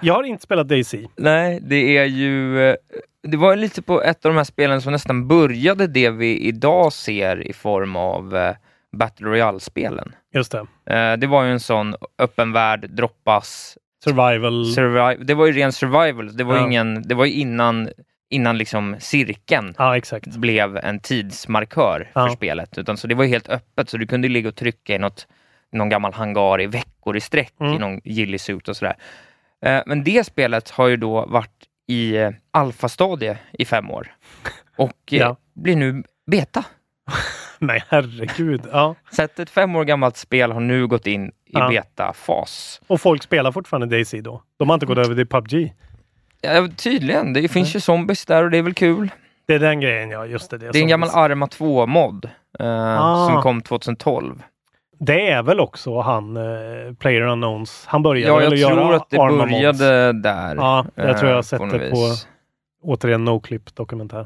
S2: jag har inte spelat DayZ.
S3: Nej, det är ju... eh, Det var ju lite på ett av de här spelen som nästan började det vi idag ser i form av eh, Battle Royale-spelen.
S2: Just det.
S3: Eh, Det var ju en sån öppen värld, droppas,
S2: Survival.
S3: survive, det var ju ren survival. Det var, ju
S2: Mm. Ja.
S3: ingen, det var ju innan, innan liksom cirkeln
S2: ja, exakt.
S3: blev en tidsmarkör
S2: Ja.
S3: för spelet. Utan, så det var ju helt öppet, så du kunde ligga och trycka i något, någon gammal hangar i veckor i sträck,
S2: Mm.
S3: i någon gillisuit och sådär. Eh, men det spelet har ju då varit i eh, alfastadie i fem år och eh,
S2: Ja.
S3: blir nu beta.
S2: Nej, herregud. Ja.
S3: Så att ett fem år gammalt spel har nu gått in i
S2: Ja.
S3: betafas.
S2: Och folk spelar fortfarande DayZ då. De har inte gått över till PubG.
S3: Ja, tydligen, det finns ju zombies där och det är väl kul.
S2: Det är den grejen, Mm. ja. Just det. Det är,
S3: Det är en
S2: som-
S3: gammal Arma 2-mod eh,
S2: Ah.
S3: som kom 2012.
S2: det är väl också han, eh, Player Unknowns. Han började
S3: Ja,
S2: väl
S3: jag
S2: att göra
S3: tror att det
S2: Arma Mods.
S3: började där.
S2: Ja, jag tror jag har
S3: eh,
S2: sett
S3: något
S2: det på-
S3: vis.
S2: Återigen Noclip-dokumentär.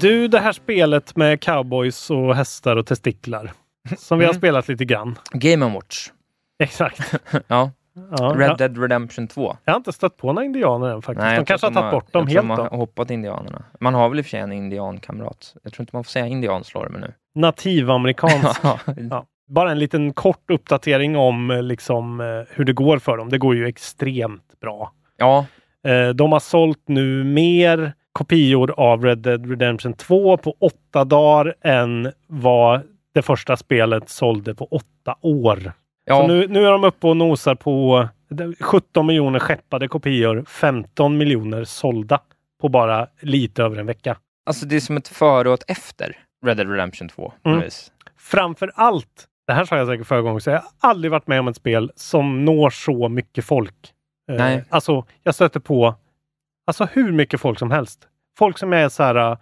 S2: Du, det här spelet med cowboys och hästar och testiklar. Som vi har
S3: Mm.
S2: spelat lite grann.
S3: Game Watch.
S2: Exakt.
S3: Ja,
S2: Ja,
S3: Red
S2: ja.
S3: Dead Redemption 2.
S2: Jag har inte stött på några indianer än faktiskt.
S3: jag
S2: de
S3: tror
S2: kanske har
S3: att
S2: tagit bort dem
S3: jag tror
S2: helt
S3: de har
S2: då.
S3: hoppat indianerna. Man har väl i och för sig en indiankamrat. Jag tror inte man får säga indianstormen nu.
S2: Nativamerikansk.
S3: Ja.
S2: Ja. Bara en liten kort uppdatering om eh, liksom, eh, hur det går för dem. Det går ju extremt bra.
S3: ja,
S2: Eh, De har sålt nu mer kopior av Red Dead Redemption 2 på åtta dagar än vad det första spelet sålde på åtta år. Så
S3: ja.
S2: nu, nu är de uppe och nosar på eh, 17 miljoner skeppade kopior, 15 miljoner sålda på bara lite över en vecka.
S3: Alltså det är som ett före och ett efter Red Dead Redemption 2. på
S2: Mm.
S3: något vis.
S2: Framför allt, det här sa jag säkert förra gången, så jag har aldrig varit med om ett spel som når så mycket folk. Eh,
S3: Nej.
S2: Alltså, jag stöter på alltså hur mycket folk som helst. Folk som är så här, eh,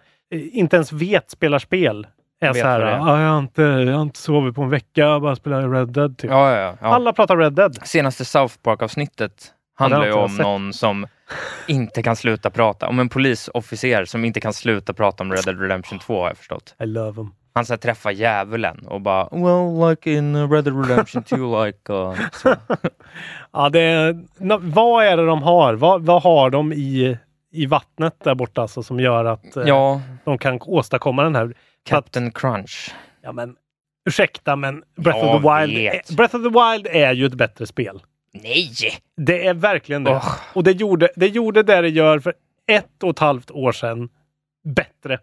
S2: inte ens vet spelar spel. Är
S3: Vet
S2: så här,
S3: vad det är.
S2: "Ah, jag, har inte, jag har inte sovit på en vecka, jag bara spelar Red Dead. Typ.
S3: Ja, ja, ja. ja.
S2: Alla pratar Red Dead.
S3: Senaste South Park-avsnittet handlar ju
S2: inte jag
S3: om
S2: sett.
S3: någon som inte kan sluta prata. Om en polisofficer som inte kan sluta prata om Red Dead Redemption 2 har jag förstått.
S2: I love him.
S3: Han ska träffa djävulen och bara “Well, like in uh, Red Dead Redemption 2, like...” uh, så.
S2: Ja, det är, nå- vad är det de har? Vad, vad har de i, i vattnet där borta alltså, som gör att eh,
S3: Ja,
S2: de kan åstadkomma den här... För att,
S3: Captain Crunch.
S2: ja, men, ursäkta, men Breath, of the
S3: Jag
S2: Wild
S3: vet.
S2: är, Breath of the Wild är ju ett bättre spel.
S3: Nej!
S2: Det är verkligen det.
S3: Åh.
S2: Och det gjorde, det gjorde det det gör för ett och ett halvt år sedan bättre.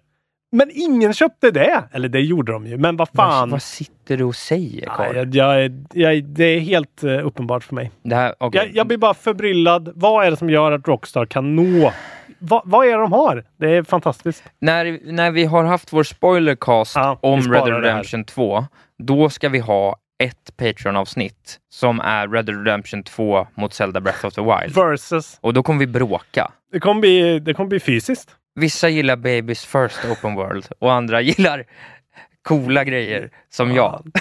S2: Men ingen köpte det! Eller det gjorde de ju, men vad
S3: Vad,
S2: fan.
S3: vad sitter du och säger,
S2: Nej,
S3: Carl?
S2: jag, jag, jag, det är helt eh, uppenbart för mig.
S3: Det här, okej.
S2: Jag, jag blir bara förbryllad. Vad är det som gör att Rockstar kan nå? Va, vad är det de har? Det är fantastiskt.
S3: När, när vi har haft vår spoilercast
S2: Ja, vi
S3: om Red
S2: sparar
S3: Dead
S2: det här.
S3: Redemption 2, då ska vi ha ett Patreon-avsnitt som är Red Dead Redemption 2 mot Zelda Breath of the Wild.
S2: Versus.
S3: Och då kommer vi bråka.
S2: Det kommer bli, det kommer bli fysiskt.
S3: Vissa gillar Babys First Open World och andra gillar coola grejer, som jag.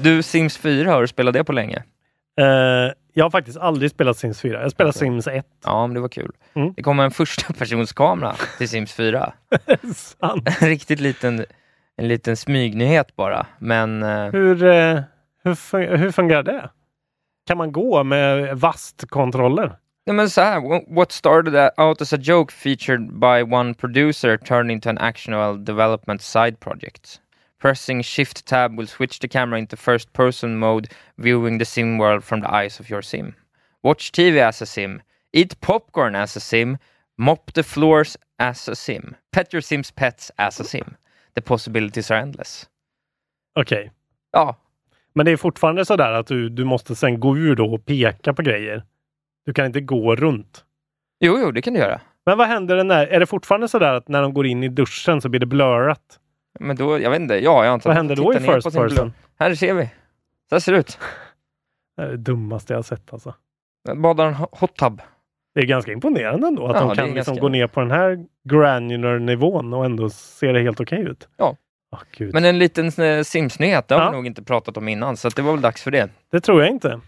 S3: Du, Sims 4, har du spelat det på länge?
S2: Eh, jag har faktiskt aldrig spelat Sims 4. Jag spelar Sims 1.
S3: Ja, men det var kul.
S2: Mm.
S3: Det kommer en första personskamera till Sims 4.
S2: Sant.
S3: En riktigt liten, en liten smygnyhet bara, men... eh,
S2: Hur, eh, hur, fun- hur fungerar det? Kan man gå med vastkontroller?
S3: Nej men så här, what started out as a joke featured by one producer turned into an actual development side project. Pressing shift tab will switch the camera into first person mode, viewing the sim world from the eyes of your sim. Watch TV as a sim, eat popcorn as a sim, mop the floors as a sim, pet your sim's pets as a sim. The possibilities are endless.
S2: Okej.
S3: Ja,
S2: Men det är fortfarande sådär att du, du måste sen gå ur då och peka på grejer. Du kan inte gå runt.
S3: jo, jo, det kan du göra.
S2: Men vad händer när, är det fortfarande sådär att när de går in i duschen så blir det blurrat?
S3: Men då, jag vet inte, ja, jag antar att
S2: Vad händer
S3: man
S2: då i
S3: tittar ner på
S2: first
S3: sin blå-
S2: person?
S3: Här ser vi. Så här ser det ut.
S2: Det är det dummaste jag har sett alltså.
S3: Badar en ho- hot tub.
S2: Det är ganska imponerande ändå att
S3: Ja,
S2: de
S3: det är
S2: kan liksom
S3: ganska-
S2: gå ner på den här granular nivån och ändå ser det helt okej ut.
S3: Ja.
S2: Åh, Gud.
S3: Men en liten eh, Sims-nyhet, det har
S2: Ja.
S3: vi nog inte pratat om innan, så att det var väl dags för det.
S2: Det tror jag inte.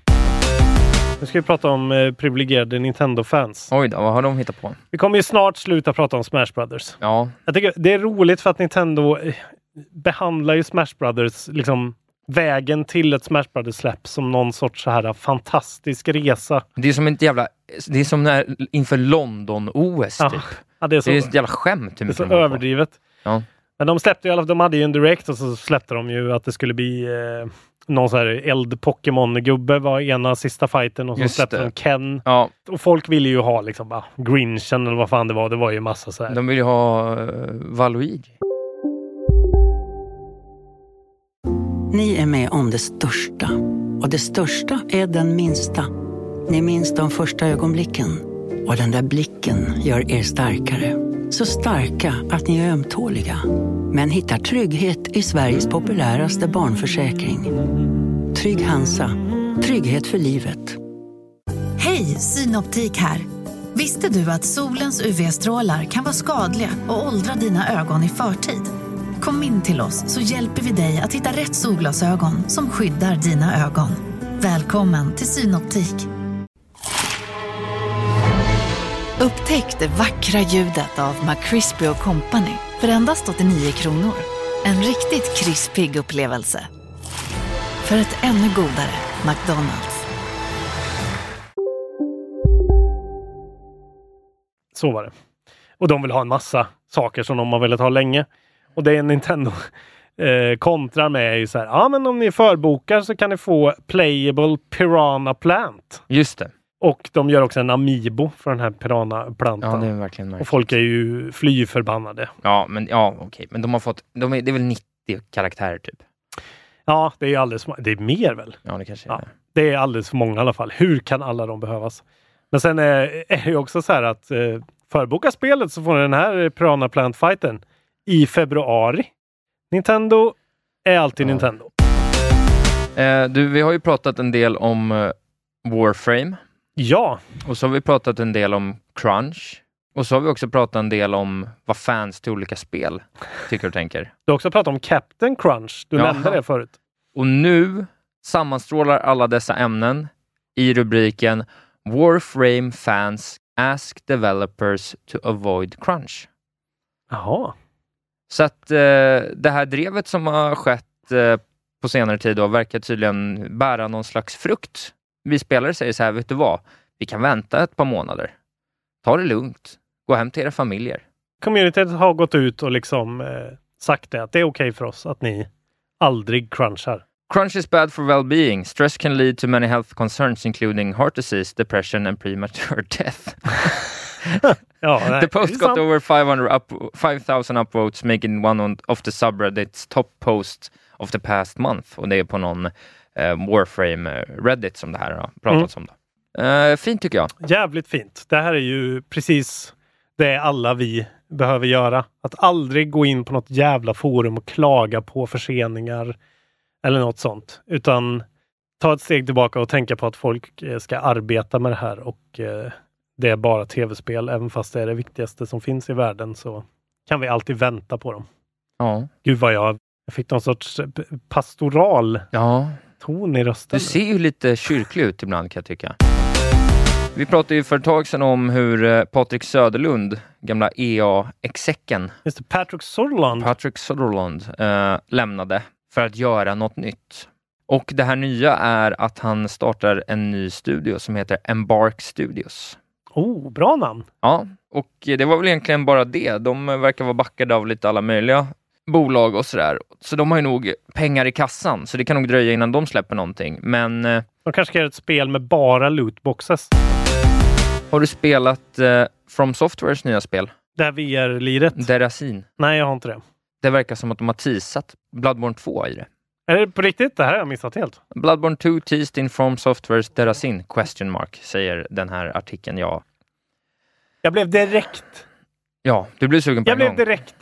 S2: Nu ska vi prata om eh, privilegierade Nintendo-fans.
S3: Oj då, vad har de hittat på?
S2: Vi kommer ju snart sluta prata om Smash Brothers.
S3: Ja,
S2: Jag tycker det är roligt för att Nintendo eh, behandlar ju Smash Brothers, liksom vägen till ett Smash Brothers släpp som någon sorts så här fantastisk resa.
S3: det är som ett jävla... Det är som när, inför London-OS,
S2: Ja,
S3: typ.
S2: Ja, det är så,
S3: Det är ett jävla skämt hur
S2: det är
S3: mycket
S2: så
S3: de håller på.
S2: överdrivet.
S3: Ja.
S2: Men de släppte ju alla, de hade ju en direkt och så släppte de ju att det skulle bli eh, någon så här eld-Pokémon-gubbe var ena sista fighten och så
S3: Just
S2: släppte
S3: det.
S2: de Ken.
S3: Ja,
S2: Och folk ville ju ha liksom bara Grinchen eller vad fan det var. Det var ju massa så här.
S3: de vill ju ha uh, Valuigi.
S4: Ni är med om det största. Och det största är den minsta. Ni minns de första ögonblicken. Och den där blicken gör er starkare. Så starka att ni är ömtåliga. Men hittar trygghet i Sveriges populäraste barnförsäkring. Trygg Hansa. Trygghet för livet.
S5: Hej, Synoptik här. Visste du att solens UV-strålar kan vara skadliga och åldra dina ögon i förtid? Kom in till oss så hjälper vi dig att hitta rätt solglasögon som skyddar dina ögon. Välkommen till Synoptik. Upptäck det vackra ljudet av McCrispy Company för endast 89 kronor. En riktigt krispig upplevelse. För ett ännu godare McDonalds.
S2: Så var det. Och de vill ha en massa saker som de har velat ha länge. Och det är Nintendo eh, kontrar med är ju så här. Ja, men om ni förbokar så kan ni få Playable Piranha Plant.
S3: Just det.
S2: Och de gör också en Amiibo för den här Piranha
S3: Ja,
S2: Plantan.
S3: det är verkligen märkligt.
S2: Och folk är ju fly förbannade.
S3: Ja, men ja, okej. Men de har fått... De är, det är väl 90 karaktärer, typ?
S2: Ja, det är ju alldeles för- Det är mer väl?
S3: Ja, det kanske är
S2: Ja,
S3: det.
S2: det är alldeles för många i alla fall. Hur kan alla de behövas? Men sen eh, är, är det ju också så här att eh, förboka spelet så får ni den här eh, Piranha Plant Fighten i februari. Nintendo är alltid
S3: Ja.
S2: Nintendo.
S3: Eh, du, vi har ju pratat en del om eh, Warframe.
S2: Ja,
S3: Och så har vi pratat en del om crunch. Och så har vi också pratat en del om vad fans till olika spel tycker och tänker.
S2: du har också pratat om Captain Crunch. Du
S3: Jaha.
S2: nämnde det förut.
S3: Och nu sammanstrålar alla dessa ämnen i rubriken “Warframe fans ask developers to avoid crunch”.
S2: Jaha.
S3: Så att eh, det här drevet som har skett eh, på senare tid då, verkar tydligen bära någon slags frukt. Vi spelare säger så här, vet du vad? Vi kan vänta ett par månader. Ta det lugnt. Gå hem till era familjer.
S2: Communityt har gått ut och liksom eh, sagt det, att det är okej för oss att ni aldrig crunchar.
S3: Crunch is bad for well-being. Stress can lead to many health concerns including heart disease, depression and premature death.
S2: Ja, nej,
S3: the post
S2: det är
S3: got
S2: sant.
S3: over 500 up, 5000 upvotes making one on- of the subreddits top post of the past month. Och det är på någon eh, Warframe eh, Reddit som det här har pratats
S2: Mm.
S3: om. Då. Eh, fint tycker jag.
S2: Jävligt fint. Det här är ju precis det alla vi behöver göra. Att aldrig gå in på något jävla forum och klaga på förseningar eller något sånt. Utan ta ett steg tillbaka och tänka på att folk eh, ska arbeta med det här och eh, det är bara tv-spel. Även fast det är det viktigaste som finns i världen så kan vi alltid vänta på dem.
S3: Ja.
S2: Gud vad jag, jag fick någon sorts eh, p- pastoral
S3: ja.
S2: ton i rösten.
S3: Du ser ju lite kyrklig ut ibland kan jag tycka. Vi pratade ju för ett tag sedan om hur eh, Patrik Söderlund, gamla E EA-execken,
S2: Just det, Patrick Sorland.
S3: Patrick Sutherland eh, lämnade för att göra något nytt. Och det här nya är att han startar en ny studio som heter Embark Studios.
S2: oh, bra namn.
S3: Ja, och det var väl egentligen bara det. De verkar vara backade av lite alla möjliga bolag och sådär. Så de har ju nog pengar i kassan, så det kan nog dröja innan de släpper någonting. Men eh,
S2: De kanske ska göra ett spel med bara lootboxes.
S3: har du spelat eh, From Softwares nya spel?
S2: Det här VR-liret?
S3: Mm. Derasin.
S2: Nej, jag har inte det.
S3: Det verkar som att de har teasat Bloodborne 2 i det.
S2: Är det på riktigt? Det här har jag missat helt.
S3: Bloodborne 2 teased in from softwares Derasin? Question mark, säger den här artikeln. Ja,
S2: Jag blev direkt,
S3: ja du blir sugen på
S2: jag
S3: en gång.
S2: blev direkt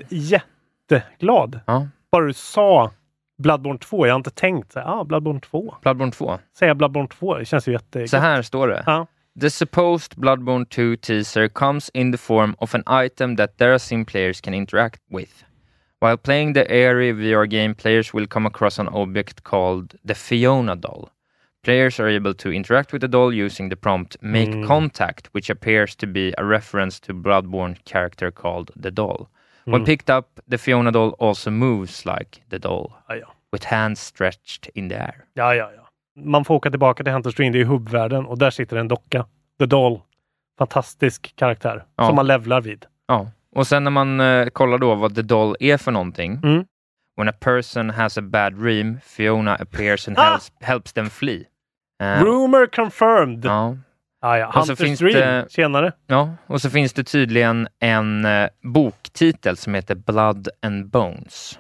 S2: jätteglad.
S3: Ja,
S2: Bara du sa Bloodborne 2. Jag har inte tänkt så här, ah, Bloodborne 2.
S3: Bloodborne 2.
S2: Säga Bloodborne 2, det känns ju jätte...
S3: Så här står det.
S2: Ja.
S3: The supposed Bloodborne 2 teaser comes in the form of an item that Derasin players can interact with. While playing the airy VR game, players will come across an object called the Fiona doll. Players are able to interact with the doll using the prompt make contact, which appears to be a reference to Bloodborne character called the doll. When picked up, the Fiona doll also moves like the doll,
S2: Ja, ja.
S3: with hands stretched in the air.
S2: ja, ja, ja. Man får åka tillbaka till Hunters Dream, det är hubbvärlden och där sitter en docka. The Doll. Fantastisk karaktär
S3: Ja.
S2: som man levlar vid.
S3: Ja, och sen när man eh, kollar då vad the doll är för någonting.
S2: Mm.
S3: When a person has a bad dream, Fiona appears and
S2: Ah!
S3: helps, helps them flee. Eh,
S2: Rumor confirmed! Ja,
S3: ja.
S2: ja. ja.
S3: Och så
S2: Hunters
S3: finns
S2: Dream.
S3: det-
S2: Tjenare.
S3: ja, och så finns det tydligen en eh, boktitel som heter Blood and Bones.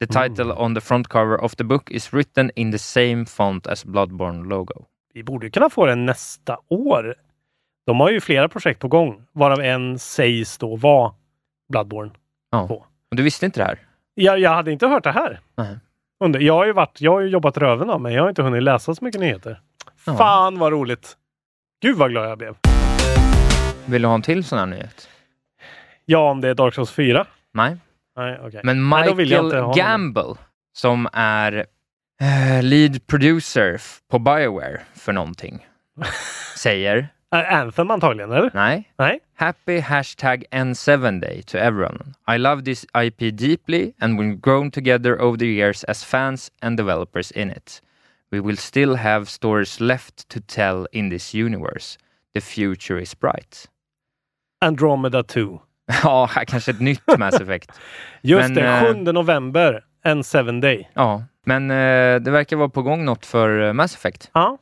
S3: The title
S2: Mm.
S3: on the front cover of the book is written in the same font as Bloodborne logo.
S2: Vi borde ju kunna få den nästa år. De har ju flera projekt på gång, varav en sägs då vara Bloodborne.
S3: Ja.
S2: Två.
S3: Och du visste inte det här?
S2: Jag, jag hade inte hört det här.
S3: Nej.
S2: Undrar, jag, har ju varit, jag har ju jobbat röven av mig. Jag har inte hunnit läsa så mycket nyheter.
S3: Ja.
S2: Fan vad roligt! Gud vad glad jag blev.
S3: Vill du ha en till sån här nyhet?
S2: Ja, om det är Dark Souls 4.
S3: Nej.
S2: Nej, okej.
S3: Men
S2: Nej, då vill jag
S3: Michael
S2: inte ha någon.
S3: Gamble, som är eh, lead producer f- på Bioware för någonting, säger
S2: Äh, Anthem antagligen, eller?
S3: nej.
S2: Nej?
S3: Happy hashtag N7 day to everyone. I love this IP deeply and we've grown together over the years as fans and developers in it. We will still have stories left to tell in this universe. The future is bright.
S2: Andromeda 2.
S3: ja, här kanske ett nytt Mass Effect.
S2: Just
S3: Men,
S2: det,
S3: eh,
S2: 7 november. En 7 day.
S3: Ja, men eh, det verkar vara på gång något för eh, Mass Effect.
S2: Ja.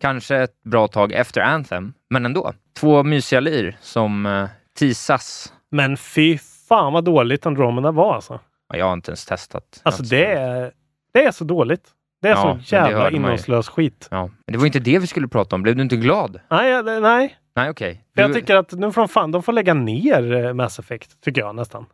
S3: kanske ett bra tag efter Anthem, men ändå. Två mysiga lir som eh, teasas.
S2: Men fy fan vad dåligt Andromeda var alltså.
S3: Ja, Jag har inte ens testat.
S2: Alltså det är, det är så dåligt. Det är
S3: Ja, men
S2: så
S3: det
S2: jävla
S3: hörde man ju.
S2: innehållslös skit.
S3: Ja. Men det var inte det vi skulle prata om. Blev du inte glad?
S2: Nej, jag- nej.
S3: Nej, okej.
S2: För jag
S3: Du-
S2: tycker att nu får de fan, de får lägga ner eh, Mass Effect, tycker jag nästan.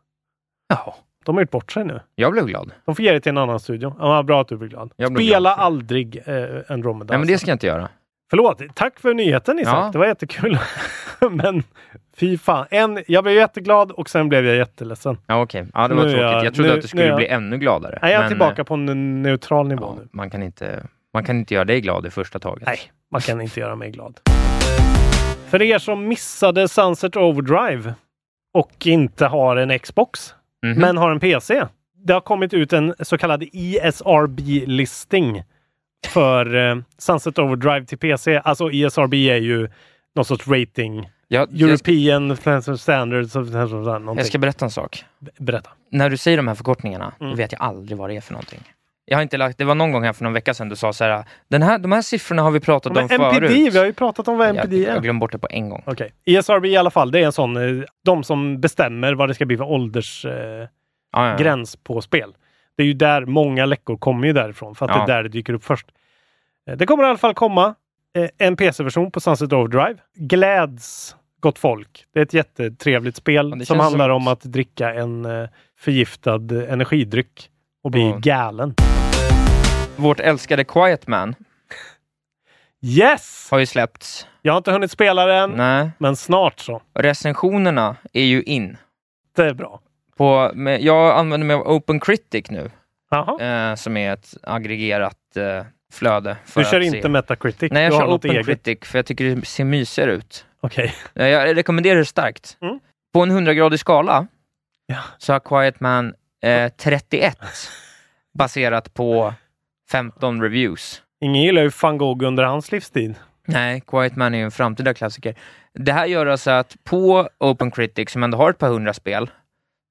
S3: Jaha.
S2: De har gjort bort sig nu.
S3: Jag blev glad.
S2: De får ge det till en annan studio. Ja, vad bra att du blir glad.
S3: Jag blir
S2: Spela
S3: glad för-
S2: aldrig eh, Andromeda.
S3: Nej, men det
S2: alltså.
S3: ska jag inte göra.
S2: Förlåt, tack för nyheten Isak.
S3: Ja.
S2: Det var jättekul. men fy fan. En, jag blev jätteglad och sen blev jag jätteledsen.
S3: Ja, okej. Ja, det var
S2: Nu är
S3: tråkigt.
S2: jag-
S3: Jag trodde
S2: nu-
S3: att du
S2: nu
S3: skulle
S2: är jag-
S3: bli ännu gladare.
S2: Nej, jag är
S3: men, eh,
S2: tillbaka på en neutral nivå
S3: ja,
S2: nu.
S3: man, kan inte, man kan inte göra dig glad i första taget.
S2: Nej, Man kan inte göra mig glad. För er som missade Sunset Overdrive och inte har en Xbox,
S6: Mhm.
S2: men har en PC. Det har kommit ut en så kallad E ESRB-listing för eh, Sunset Overdrive till PC. Alltså ESRB är ju någon sorts rating.
S3: jag-
S2: European Financial Standards. of- någonting.
S3: Jag ska berätta en sak.
S2: Berätta.
S3: När du säger de här förkortningarna,
S2: Mm.
S3: då vet jag aldrig vad det är för någonting. Jag har inte lagt, det var någon gång här för någon vecka sedan du sa så här, den här, de här siffrorna har vi pratat
S2: Men
S3: om
S2: MPD,
S3: förut.
S2: vi har ju pratat om vad MPD
S3: Jag,
S2: är.
S3: jag glömde bort det på en gång.
S2: Okej. E ESRB i alla fall, det är en sån, eh, de som bestämmer vad det ska bli för åldersgräns eh,
S3: Ja, ja.
S2: gräns på spel. Det är ju där många läckor kommer ju därifrån, för
S3: Ja.
S2: att det är där det dyker upp först. Eh, Det kommer i alla fall komma eh, en PC-version på Sunset Overdrive. Gläds gott folk. Det är ett jättetrevligt spel
S3: det
S2: som
S3: känns
S2: handlar
S3: som-
S2: om att dricka en eh, förgiftad eh, energidryck och bli
S3: Ja.
S2: galen.
S3: Vårt älskade Quiet Man
S2: Yes!
S3: har ju släppts.
S2: Jag har inte hunnit spela den,
S3: Nej.
S2: men snart så.
S3: Recensionerna är ju in.
S2: Det är bra.
S3: På, med, jag använder mig av Open Critic nu,
S2: Jaha.
S3: eh, som är ett aggregerat eh, flöde. För
S2: Du kör
S3: att
S2: inte
S3: se.
S2: Metacritic?
S3: Nej, jag
S2: du har
S3: kör
S2: något
S3: Open
S2: eget.
S3: Critic för jag tycker det ser mysigare ut.
S2: Okej.
S3: Ja, Eh, Jag rekommenderar det starkt.
S2: Mm.
S3: På en 100-gradig skala så har Quiet Man eh, 31 baserat på 15 reviews.
S2: Ingen gillar ju van Gogh under hans livstid.
S3: Nej, Quiet Man är ju en framtida klassiker. Det här gör alltså att på Open Critic, som ändå har ett par hundra spel,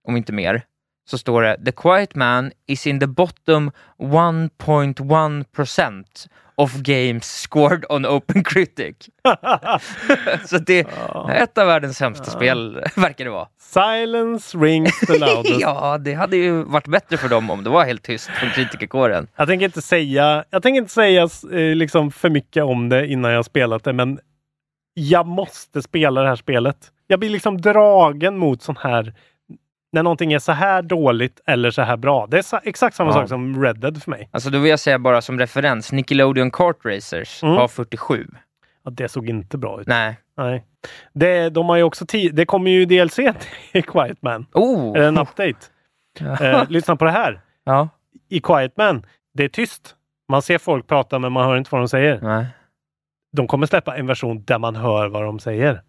S3: om inte mer, så står det “The Quiet Man is in the bottom 1.1% of games scored on Open Critic”. så det är ett av världens sämsta spel, verkar det vara.
S2: Silence rings the loudest.
S3: ja, det hade ju varit bättre för dem om det var helt tyst från kritikerkåren.
S2: Jag tänker inte säga, jag tänker inte säga eh, liksom för mycket om det innan jag har spelat det, men jag måste spela det här spelet. Jag blir liksom dragen mot sån här, när någonting är så här dåligt eller så här bra. Det är sa- exakt samma
S3: Ja.
S2: sak som Red Dead för mig.
S3: Alltså då vill jag säga bara som referens, Nickelodeon Kart Racers
S2: Mm.
S3: har 47.
S2: Ja, det såg inte bra ut.
S3: Nej.
S2: Nej. Det, de har ju också ti- det kommer ju DLC till Quiet Man.
S3: Oh.
S2: Eller en update. Eh, lyssna på det här.
S3: Ja.
S2: I Quiet Man, det är tyst. Man ser folk prata men man hör inte vad de säger.
S3: Nej.
S2: De kommer släppa en version där man hör vad de säger.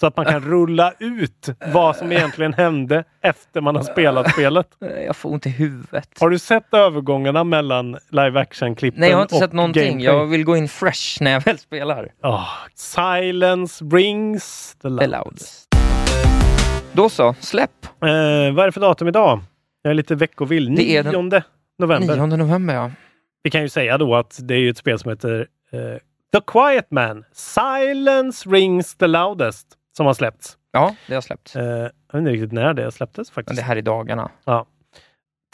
S2: Så att man kan rulla ut vad som egentligen hände efter man har spelat spelet.
S3: Eh, Jag får ont i huvudet.
S2: Har du sett övergångarna mellan live action-klippen
S3: Nej, jag har inte
S2: och
S3: sett någonting.
S2: gameplay?
S3: Jag vill gå in fresh när jag väl spelar.
S2: Ah, silence brings
S3: The
S2: the loud.
S3: loudest. Då så, släpp.
S2: Eh, vad är det för datum idag? Jag är lite veckovill.
S3: Det är
S2: 9
S3: den-
S2: november.
S3: 9 november, ja.
S2: Vi kan ju säga då att det är ju ett spel som heter eh, The Quiet Man. Silence rings the loudest. Som har släppts.
S3: Ja, det har släppts.
S2: Eh, jag vet inte riktigt när det släpptes
S3: Men
S2: faktiskt.
S3: det här i dagarna.
S2: Ja.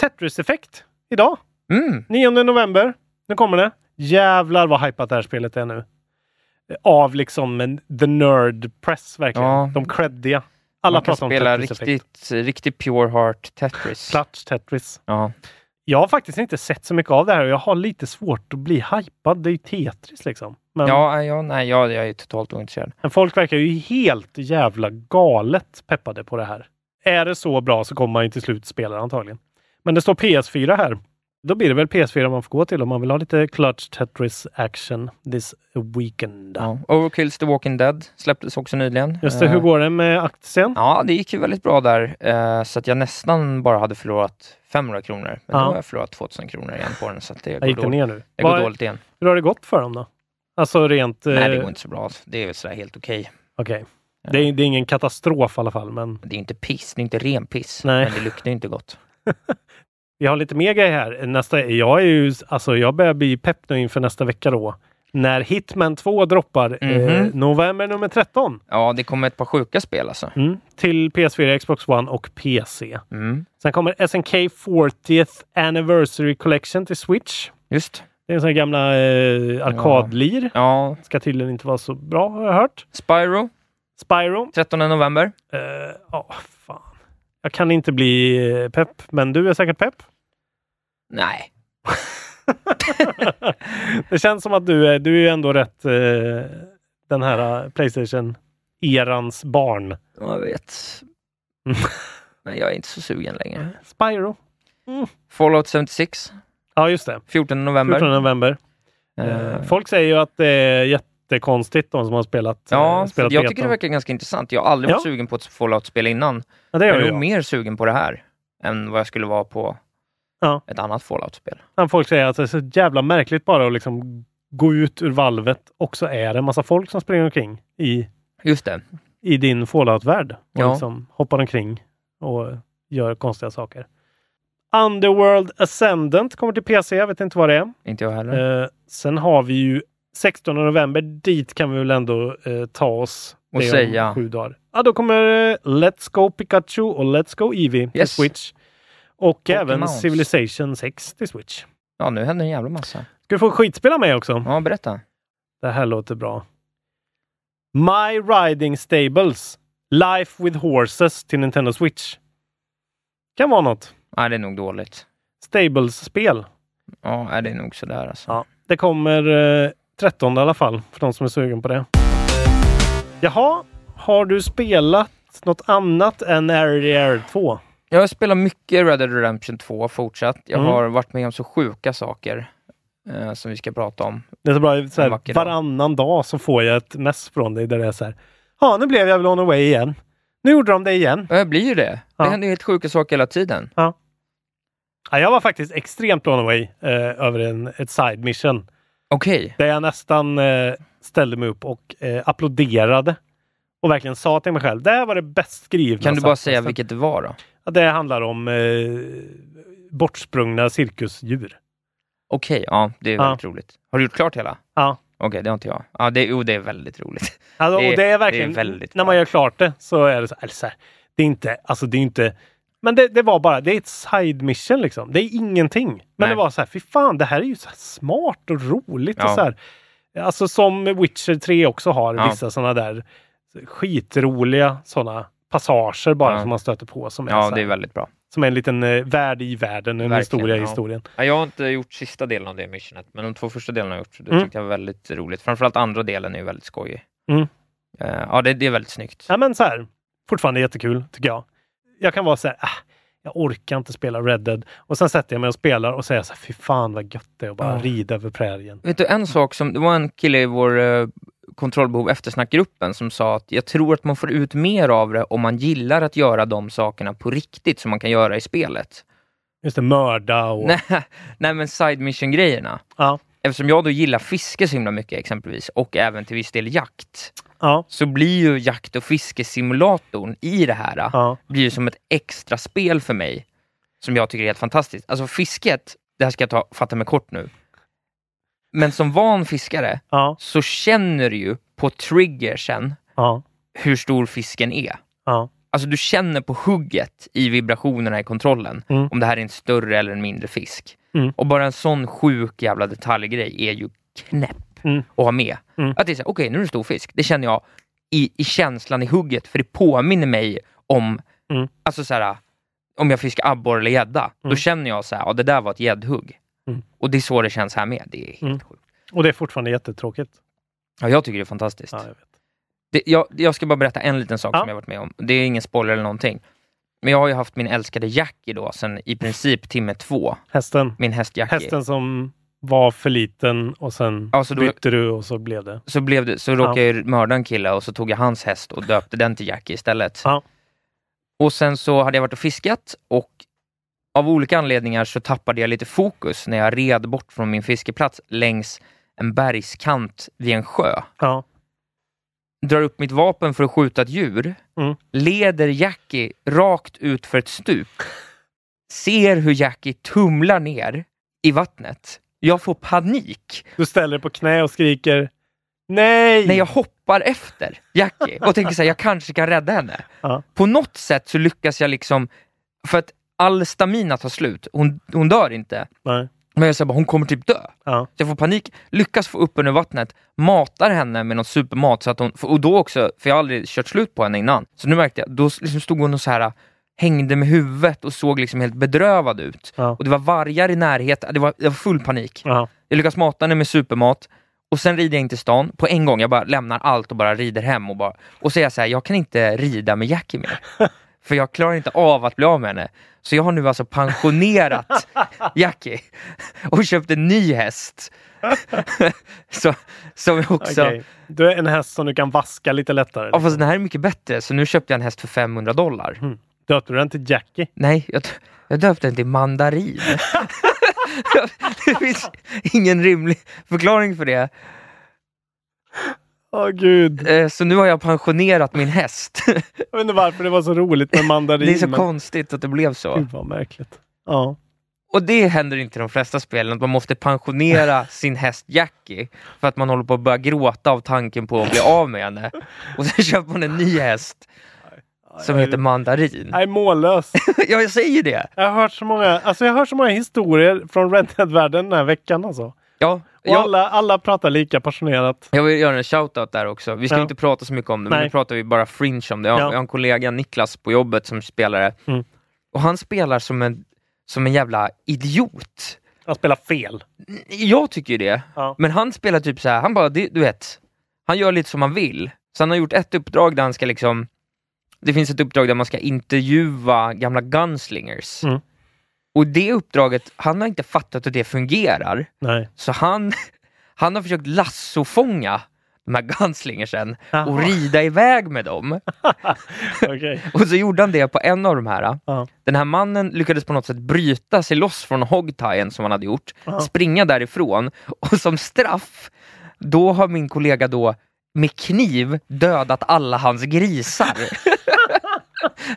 S2: Tetris-effekt idag.
S3: Mm.
S2: 9 november. Nu kommer det. Jävlar vad hypat det här spelet är nu. Av liksom en, the nerd press verkligen.
S3: Ja.
S2: De creddiga. Alla
S3: Man kan
S2: pratar om
S3: spela
S2: Tetris-effekt.
S3: riktigt, riktigt pure heart Tetris.
S2: Clutch Tetris.
S3: Ja.
S2: Jag har faktiskt inte sett så mycket av det här och jag har lite svårt att bli hypad. Det är ju Tetris liksom. Men,
S3: Ja, ja, nej, jag, jag är totalt ointresserad.
S2: men folk verkar ju helt jävla galet peppade på det här. Är det så bra så kommer man ju till slut spela det antagligen. Men det står PS4 här. Då blir det väl PS4 man får gå till om man vill ha lite Clutch Tetris action this weekend.
S3: Ja. Overkills The Walking Dead släpptes också nyligen.
S2: Just det,
S3: Eh,
S2: hur går det med aktien?
S3: Ja, det gick ju väldigt bra där, eh, så att jag nästan bara hade förlorat 500 kronor. Men
S2: Ja.
S3: nu har jag förlorat 2000 kronor igen på den, så att det
S2: Jag
S3: går,
S2: gick den
S3: dåligt.
S2: ner nu.
S3: Det går
S2: Vad-
S3: dåligt igen.
S2: Hur har det gått för dem då? Alltså rent...
S3: Nej, det
S2: eh,
S3: går inte så bra. Det är väl sådär helt okej.
S2: Okej. Det, är, det är ingen katastrof i alla fall, men
S3: Det är inte piss, det är inte ren piss,
S2: Nej.
S3: men det luktar ju inte gott.
S2: Vi har lite mer grejer här. Nästa, jag, är ju, alltså, jag börjar bli pepp nu inför nästa vecka då. När Hitman 2 droppar eh,
S3: Mhm.
S2: november nummer 13
S3: Ja, det kommer ett par sjuka spel alltså.
S2: mm, till PS4, Xbox One och PC.
S3: Mm.
S2: Sen kommer SNK 40th Anniversary Collection till Switch.
S3: Just.
S2: Det är sådana gamla eh, arkadlir.
S3: Ja,
S2: Ska tydligen inte vara så bra har jag hört.
S3: Spyro,
S2: Spyro.
S3: 13 november.
S2: Ja, fan. Jag kan inte bli eh, pepp, men du är säkert pepp.
S3: Nej,
S2: Det känns som att du är, du är ju ändå rätt eh, den här eh, Playstation-erans barn.
S3: jag vet.
S2: Mm.
S3: Men jag är inte så sugen längre.
S2: Spyro.
S3: Fallout 76,
S2: Ja, just det.
S3: 14 november.
S2: 14 november. Eh, Folk säger ju att det är jättekonstigt, de som har spelat
S3: Ja,
S2: eh, spelat
S3: jag
S2: betan.
S3: tycker det verkar ganska intressant. Jag har aldrig varit
S2: Ja.
S3: sugen på ett Fallout-spel innan.
S2: Ja, det gör
S3: jag är
S2: jag.
S3: nog mer sugen på det här än vad jag skulle vara på
S2: Ja.
S3: ett annat Fallout-spel.
S2: Men Folk säger att det är så jävla märkligt bara att liksom gå ut ur valvet och så är det en massa folk som springer omkring i,
S3: Just det.
S2: i din Fallout-värld. Och
S3: Ja.
S2: liksom hoppar omkring och gör konstiga saker. Underworld Ascendant kommer till PC, jag vet inte vad det är.
S3: Inte jag heller.
S2: Eh, sen har vi ju 16 november, dit kan vi väl ändå eh, ta oss.
S3: Och
S2: Det är om
S3: säga.
S2: Sju dagar. Ja, då kommer eh, Let's Go Pikachu och Let's Go Eevee till
S3: Yes.
S2: Switch. Och även
S3: Mouse.
S2: Civilization 6 till Switch.
S3: Ja, nu händer en jävla massa.
S2: Ska du få skitspela med också?
S3: Ja, berätta.
S2: Det här låter bra. My Riding Stables. Life with Horses till Nintendo Switch. Kan vara något.
S3: Nej, det är nog dåligt.
S2: Stables-spel.
S3: Ja, nej, det är nog sådär alltså.
S2: Ja, det kommer eh, 13 i alla fall, för de som är sugen på det. Jaha, har du spelat något annat än E RDR 2?
S3: Jag spelar mycket Red Dead Redemption 2 fortsatt. Jag
S2: Mm.
S3: har varit med om så sjuka saker eh, som vi ska prata om.
S2: Det är så bra, så
S3: En
S2: här,
S3: vacker dag.
S2: varannan dag så får jag ett mess från dig där det är så här. Ja, nu blev jag väl on away igen. Nu gjorde de det igen.
S3: Ja, jag Eh, blir ju det.
S2: Ja.
S3: Det händer ju helt sjuka saker hela tiden.
S2: Ja, jag var faktiskt extremt blown away eh, över en, ett side mission.
S3: Okej.
S2: Där jag nästan eh, ställde mig upp och eh, applåderade. Och verkligen sa till mig själv, det här var det bäst skrivna.
S3: Kan du bara säga
S2: sidequesten."
S3: vilket det var då?
S2: Ja, det handlar om eh, bortsprungna cirkusdjur.
S3: Okej, ja, det är
S2: Ja.
S3: väldigt roligt. Har du gjort klart hela?
S2: Ja.
S3: Okej, det har inte jag. Ja, det, jo, det är väldigt roligt.
S2: Alltså,
S3: Det-
S2: och det är verkligen,
S3: det är väldigt
S2: när man gör klart det så är det så, eller så här, det är inte, alltså det är inte, men det, det var bara, det är ett side mission liksom. Det är ingenting. Men
S3: Nej.
S2: det var så här, fy fan, det här är ju så här smart och roligt och
S3: Ja.
S2: så här. Alltså som Witcher 3 också har
S3: Ja.
S2: vissa sådana där skitroliga sådana passager bara
S3: Ja.
S2: som man stöter på som är, så
S3: Ja,
S2: här,
S3: det är väldigt bra.
S2: som är en liten eh, värld i världen, en
S6: Verkligen,
S2: historia i
S6: ja.
S2: historien.
S3: Ja, jag har inte gjort sista delen av det missionet, men de två första delarna har jag gjort. Det
S2: Mm.
S3: tyckte jag var väldigt roligt. Framförallt andra delen är ju väldigt skojig.
S2: Mm.
S3: Eh, ja, det, det är väldigt snyggt.
S2: Ja, men så här, fortfarande jättekul tycker jag. Jag kan vara så här, ah, jag orkar inte spela Red Dead. Och sen sätter jag mig och spelar och säger så här, fy fan vad gött det är att bara
S3: Ja.
S2: rida över prärien.
S3: Vet du, en sak som, det var en kille i vår eh, kontrollbehov eftersnackgruppen som sa att jag tror att man får ut mer av det om man gillar att göra de sakerna på riktigt som man kan göra i spelet.
S2: Just det, mörda och...
S3: Nej, nej men side mission-grejerna.
S2: Ja.
S3: Eftersom jag då gillar fiske så himla mycket exempelvis och även till viss del jakt
S2: Ja.
S3: så blir ju jakt och fiskesimulatorn i det här eh,
S2: Ja.
S3: blir ju som ett extra spel för mig som jag tycker är helt fantastiskt. Alltså fisket, det här ska jag ta, fatta mig kort nu. Men som van fiskare
S2: Ja.
S3: så känner du ju på triggersen
S2: Ja.
S3: hur stor fisken är.
S2: Ja.
S3: Alltså du känner på hugget i vibrationerna i kontrollen
S2: Mm.
S3: om det här är en större eller en mindre fisk.
S2: Mm.
S3: Och bara en sån sjuk jävla detaljgrej är ju knäpp
S2: Mm.
S3: att ha med.
S2: Mm.
S3: Att det är så här, okej nu är det en stor fisk. Det känner jag i, i känslan i hugget för det påminner mig om,
S2: Mm.
S3: alltså så här, om jag fiskar abborre eller gädda. Då
S2: Mm.
S3: känner jag så här, ja det där var ett gäddhugg.
S2: Mm.
S3: Och det är så det känns här med. Det är helt
S2: Mm.
S3: sjukt.
S2: Och det är fortfarande jättetråkigt.
S3: Ja, jag tycker det är fantastiskt.
S2: Ja, jag vet.
S3: Det, jag, jag ska bara berätta en liten sak
S2: Ja.
S3: som jag varit med om. Det är ingen spoiler eller någonting. Men jag har ju haft min älskade Jackie då sen i princip timme två.
S2: Hästen.
S3: Min häst Jackie.
S2: Hästen som var för liten och sen
S3: Ja, så då-
S2: bytte du och så blev det.
S3: Så, blev det, så råkade jag mörda en kille och så tog jag hans häst och döpte den till Jackie istället.
S2: Ja.
S3: Och sen så hade jag varit och fiskat och av olika anledningar så tappade jag lite fokus när jag red bort från min fiskeplats längs en bergskant vid en sjö.
S2: Ja.
S3: drar upp mitt vapen för att skjuta ett djur,
S2: Mm.
S3: leder Jackie rakt ut för ett stup, ser hur Jackie tumlar ner i vattnet. Jag får panik
S2: Du ställer dig på knä och skriker Nej!
S3: när jag hoppar efter Jackie och tänker så här, jag kanske kan rädda henne.
S2: Ja.
S3: På något sätt så lyckas jag liksom, för att all stamina tar slut, hon, hon dör inte,
S2: Nej.
S3: men jag säger bara, hon kommer typ dö.
S2: Ja.
S3: Så jag får panik, lyckas få upp henne ur vattnet, matar henne med något supermat så att hon, och då också, för jag har aldrig kört slut på henne innan, så nu märkte jag, då liksom stod hon och så här hängde med huvudet och såg liksom helt bedrövad ut.
S2: Ja.
S3: Och det var vargar i närheten, det var, det var full panik.
S2: Ja.
S3: Jag lyckas mata henne med supermat och sen rider jag in till stan på en gång. Jag bara lämnar allt och bara rider hem och bara... Och så är jag så här, jag kan inte rida med Jackie mer. för jag klarar inte av att bli av med henne. Så jag har nu alltså pensionerat Jackie och köpt en ny häst. så, som också...
S2: Okej. Du är en häst som du kan vaska lite lättare.
S3: Ja, fast den här är mycket bättre, så nu köpte jag en häst för 500 dollar.
S2: Döpte du den till Jackie?
S3: Nej, jag, dö- jag döpte den till Mandarin. det finns ingen rimlig förklaring för det.
S2: Åh gud.
S3: Eh, Så nu har jag pensionerat min häst.
S2: Jag vet inte varför det var så roligt med mandarin.
S3: Det är så
S2: men-
S3: konstigt att det blev så.
S2: Gud vad märkligt. Ja.
S3: Och det händer inte i de flesta spelen, att man måste pensionera sin häst Jackie för att man håller på att börja gråta av tanken på att bli av med henne. Och sen köper man en ny häst som
S2: jag är-
S3: heter Mandarin.
S2: Jag är mållös.
S3: Ja, jag säger det!
S2: Jag har hört så många, alltså jag har hört så många historier från Red Dead-världen den här veckan alltså.
S3: Ja,
S2: Och alla, alla pratar lika passionerat.
S3: Jag vill göra en shoutout där också. Vi ska
S2: Ja.
S3: inte prata så mycket om det, men
S2: Nej.
S3: nu pratar vi bara fringe om det. Jag,
S2: Ja.
S3: jag har en kollega, Niklas, på jobbet som spelare.
S2: Mm.
S3: Och han spelar som en, som en jävla idiot.
S2: Jag spelar fel.
S3: Jag tycker ju det.
S2: Ja.
S3: Men han spelar typ så här, han bara, du du vet, han gör lite som han vill. Så han har gjort ett uppdrag där han ska liksom, det finns ett uppdrag där man ska intervjua gamla gunslingers.
S2: Mm.
S3: Och det uppdraget, han har inte fattat hur det fungerar.
S2: Nej.
S3: Så han, han har försökt lassofånga de här gunslingersen och
S2: Jaha.
S3: rida iväg med dem.
S2: Okej.
S3: Och så gjorde han det på en av de här.
S2: Ja.
S3: Den här mannen lyckades på något sätt bryta sig loss från hogtien som han hade gjort, springa därifrån och som straff, då har min kollega då med kniv dödat alla hans grisar.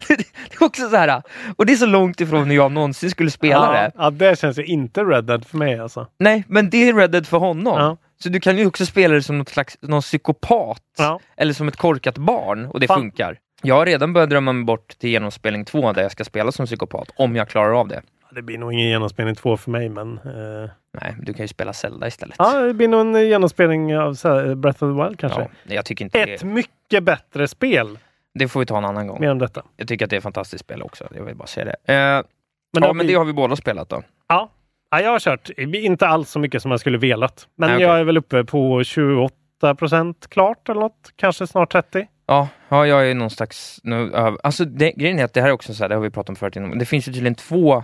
S3: det är också så här, och det är så långt ifrån hur jag någonsin skulle spela det.
S2: Ja, ja, det känns ju inte Red Dead för mig alltså.
S3: Nej, men det är Red Dead för honom.
S2: Ja.
S3: Så du kan ju också spela det som något slags, någon psykopat,
S2: Ja.
S3: eller som ett korkat barn, och det
S2: Fan.
S3: funkar. Jag har redan börjat drömma mig bort till genomspelning två där jag ska spela som psykopat, om jag klarar av det.
S2: Ja, Det blir nog ingen genomspelning två för mig men... eh,
S3: Nej, du kan ju spela Zelda istället.
S2: Ja, det blir nog en genomspelning av så här, Breath of the Wild kanske.
S3: Ja, jag tycker inte
S2: Ett
S3: det.
S2: mycket bättre spel.
S3: Det får vi ta en annan gång.
S2: Mer om detta.
S3: Jag tycker att det är ett fantastiskt spel också, jag vill bara säga det. Eh,
S2: Men
S3: ja,
S2: har
S3: men
S2: vi-
S3: det har vi båda spelat då.
S2: Ja. ja, jag har kört inte alls så mycket som jag skulle velat. Men
S3: Nej, okej.
S2: jag är väl uppe på 28 procent klart eller något. Kanske snart 30.
S3: Ja, ja jag är någon slags... Nu, över- alltså det, grejen är att det här är också så här, det har vi pratat om förut innan, men det finns ju tydligen två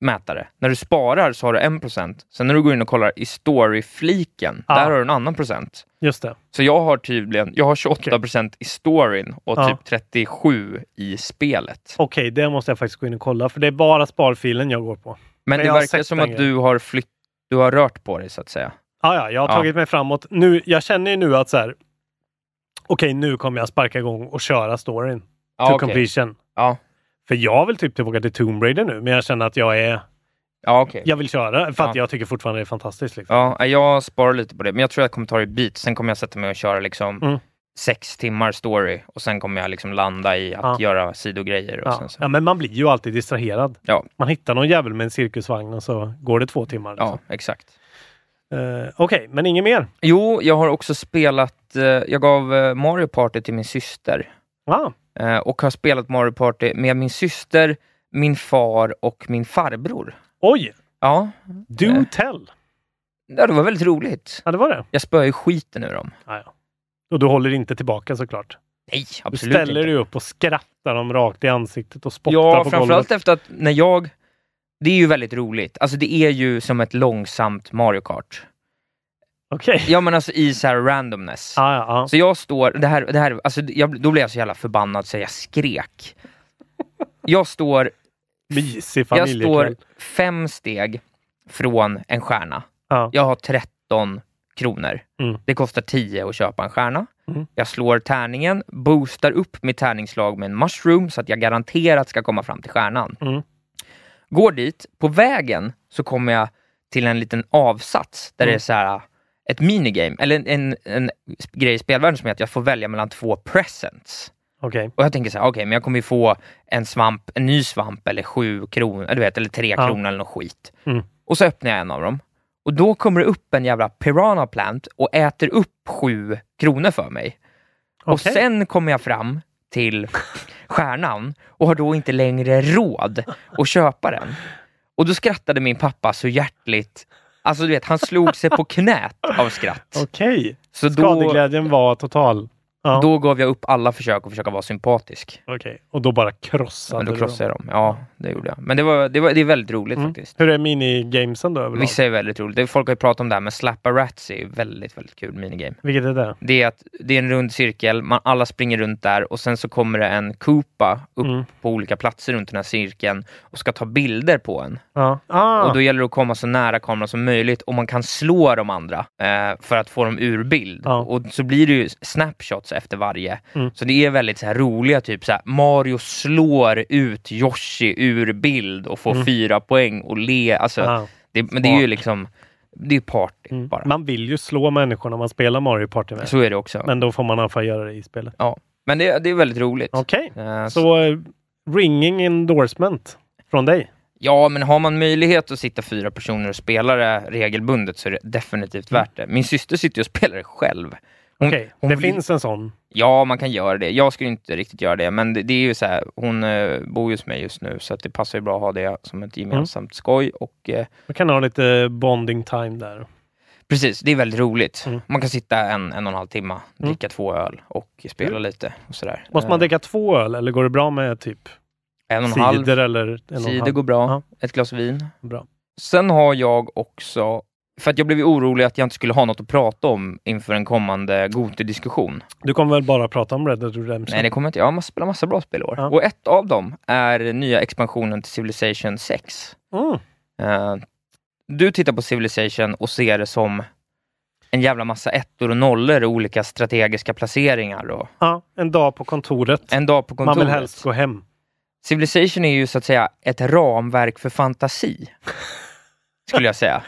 S3: mätare. När du sparar så har du en procent, sen när du går in och kollar i story-fliken,
S2: Ja.
S3: där har du en annan procent.
S2: Just det.
S3: Så jag har tydligen, jag har 28 procent i storyn och
S2: Ja.
S3: typ 37 i spelet.
S2: Okej, det måste jag faktiskt gå in och kolla. För det är bara sparfilen jag går på.
S3: Men,
S2: Men
S3: det
S2: jag har
S3: verkar
S2: sett
S3: som
S2: den
S3: att
S2: grejen.
S3: du har, flytt, du har rört på dig så att säga.
S2: Ja, ja, jag har
S3: Ja.
S2: tagit mig framåt. Nu, jag känner ju nu att så här. Okej, nu kommer jag sparka igång och köra storyn.
S3: Ja,
S2: to
S3: okej.
S2: completion.
S3: Ja,
S2: För jag vill typ tillbaka till Tomb Raider nu, men jag känner att jag är...
S3: ja okej.
S2: Jag vill köra, för att
S3: Ja.
S2: jag tycker fortfarande det är fantastiskt. Liksom.
S3: Ja, jag sparar lite på det, men jag tror jag kommer ta det i bit. Sen kommer jag sätta mig och köra liksom
S2: Mm.
S3: sex timmar story och sen kommer jag liksom landa i att
S2: Ja.
S3: göra sidogrejer. Och
S2: Ja.
S3: sen så.
S2: ja, men man blir ju alltid distraherad.
S3: Ja.
S2: Man hittar någon jävel med en cirkusvagn och så går det två timmar. Liksom.
S3: ja, exakt.
S2: Eh, Okej, men inget mer?
S3: Jo, jag har också spelat, eh, jag gav eh, Mario Party till min syster
S2: Ja,
S3: eh, och har spelat Mario Party med min syster, min far och min farbror.
S2: Oj!
S3: Ja,
S2: Do
S3: Eh.
S2: tell!
S3: ja, det var väldigt roligt.
S2: Ja, det var det.
S3: Jag spöar ju skiten ur dem.
S2: Ja, ja. Och du håller inte tillbaka såklart.
S3: Nej,
S2: Du
S3: absolut
S2: ställer
S3: inte.
S2: dig upp och skrattar dem rakt i ansiktet och spottar
S3: Ja,
S2: på
S3: framförallt
S2: golvet.
S3: efter att när jag... Det är ju väldigt roligt. Alltså det är ju som ett långsamt Mario Kart.
S2: Okej.
S3: Ja men alltså i så här randomness.
S2: Ja, ja, ja.
S3: Så jag står, det här, det här, alltså jag, då blev jag så jävla förbannad så jag skrek. Jag står,
S2: Mysig
S3: jag
S2: familjekväll.
S3: står fem steg från en stjärna.
S2: Ja.
S3: Jag har 13 kronor.
S2: Mm.
S3: Det kostar 10 att köpa en stjärna.
S2: Mm.
S3: Jag slår tärningen, boostar upp mitt tärningslag med en mushroom så att jag garanterat ska komma fram till stjärnan.
S2: Mm.
S3: Går dit, på vägen så kommer jag till en liten avsats där
S2: Mm.
S3: det är så här äh, ett minigame, eller en, en, en grej i spelvärlden som är att jag får välja mellan två presents.
S2: Okej.
S3: Och jag tänker så här, okej, men jag kommer ju få en svamp, en ny svamp eller sju kronor, eller du vet, eller tre
S2: Ja.
S3: kronor eller något skit.
S2: Mm.
S3: Och så öppnar jag en av dem. Och då kommer det upp en jävla piranha plant och äter upp sju kronor för mig. Och
S2: Okej.
S3: sen kommer jag fram till stjärnan och har då inte längre råd att köpa den. Och då skrattade min pappa så hjärtligt. Alltså du vet, han slog sig på knät av skratt.
S2: Okej.
S3: Så då,
S2: Skadeglädjen var total. Ja.
S3: Då gav jag upp alla försök att försöka vara sympatisk.
S2: Okej, och då bara
S3: Ja,
S2: krossade
S3: men då
S2: du
S3: krossade jag dem. Ja, det gjorde jag. Men det, var, det, var, det är väldigt roligt
S2: Mm.
S3: faktiskt.
S2: Hur är minigamesen då överlag?
S3: Vissa är väldigt roligt. Det- Folk har ju pratat om det här, men Slappa Rats är ju väldigt, väldigt kul minigame.
S2: Vilket är det?
S3: Det är att det är en rund cirkel, man, alla springer runt där och sen så kommer det en Koopa upp
S2: Mm.
S3: på olika platser runt den här cirkeln och ska ta bilder på en.
S2: Ja. Ah.
S3: Och då gäller det att komma så nära kameran som möjligt och man kan slå de andra eh, för att få dem ur bild. Och så blir det ju snapshots efter varje.
S2: Mm.
S3: Så det är väldigt så här roliga, typ så här, Mario slår ut Yoshi ur bild och får
S2: Mm.
S3: fyra poäng och le. Alltså,
S2: Ah.
S3: det, men det är ju
S2: Smart. Mm.
S3: liksom, det är party bara. Alltså-
S2: Man vill ju slå människorna man spelar Mario Party med.
S3: Så är det också.
S2: Men då får man i alla fall göra det i spelet.
S3: Ja. Men det, det är väldigt roligt.
S2: Okej,
S3: Eh,
S2: så eh, ringing endorsement från dig.
S3: Ja, men har man möjlighet att sitta fyra personer och spela det regelbundet så är det definitivt värt det. Min syster sitter ju och spelar det själv. Hon-
S2: Mm. Okej,
S3: hon
S2: det
S3: vill-
S2: finns en sån.
S3: Ja, man kan göra det. Jag skulle inte riktigt göra det, men det, det är ju så här, hon eh, bor ju hos mig just nu så att det passar ju bra att ha det som ett
S2: Mm.
S3: gemensamt skoj. Och, eh,
S2: Man kan ha lite bonding time där.
S3: precis, det är väldigt roligt.
S2: Mm.
S3: Man kan sitta en, en och en halv timme, dricka två öl och spela
S2: Mm.
S3: lite och sådär. Eh,
S2: Måste man dricka två öl eller går det bra med typ
S3: en och en halv.
S2: cider eller en och en
S3: Cider
S2: halv?
S3: går bra, ett glas vin.
S2: Bra.
S3: Sen har jag också, för att jag blev ju orolig att jag inte skulle ha något att prata om inför en kommande Gote-diskussion.
S2: Du kommer väl bara prata om Red Dead Redemption?
S3: Nej, det kommer inte. Jag har mass- spelat massa bra spel i år. Och ett av dem är nya expansionen till Civilization 6.
S2: Mm.
S3: Eh, du tittar på Civilization och ser det som en jävla massa ettor och nollor och olika strategiska placeringar. Och
S2: Ja, en dag på kontoret.
S3: en dag på kontoret.
S2: Man vill helst gå hem.
S3: Civilization är ju så att säga ett ramverk för fantasi. Skulle jag säga.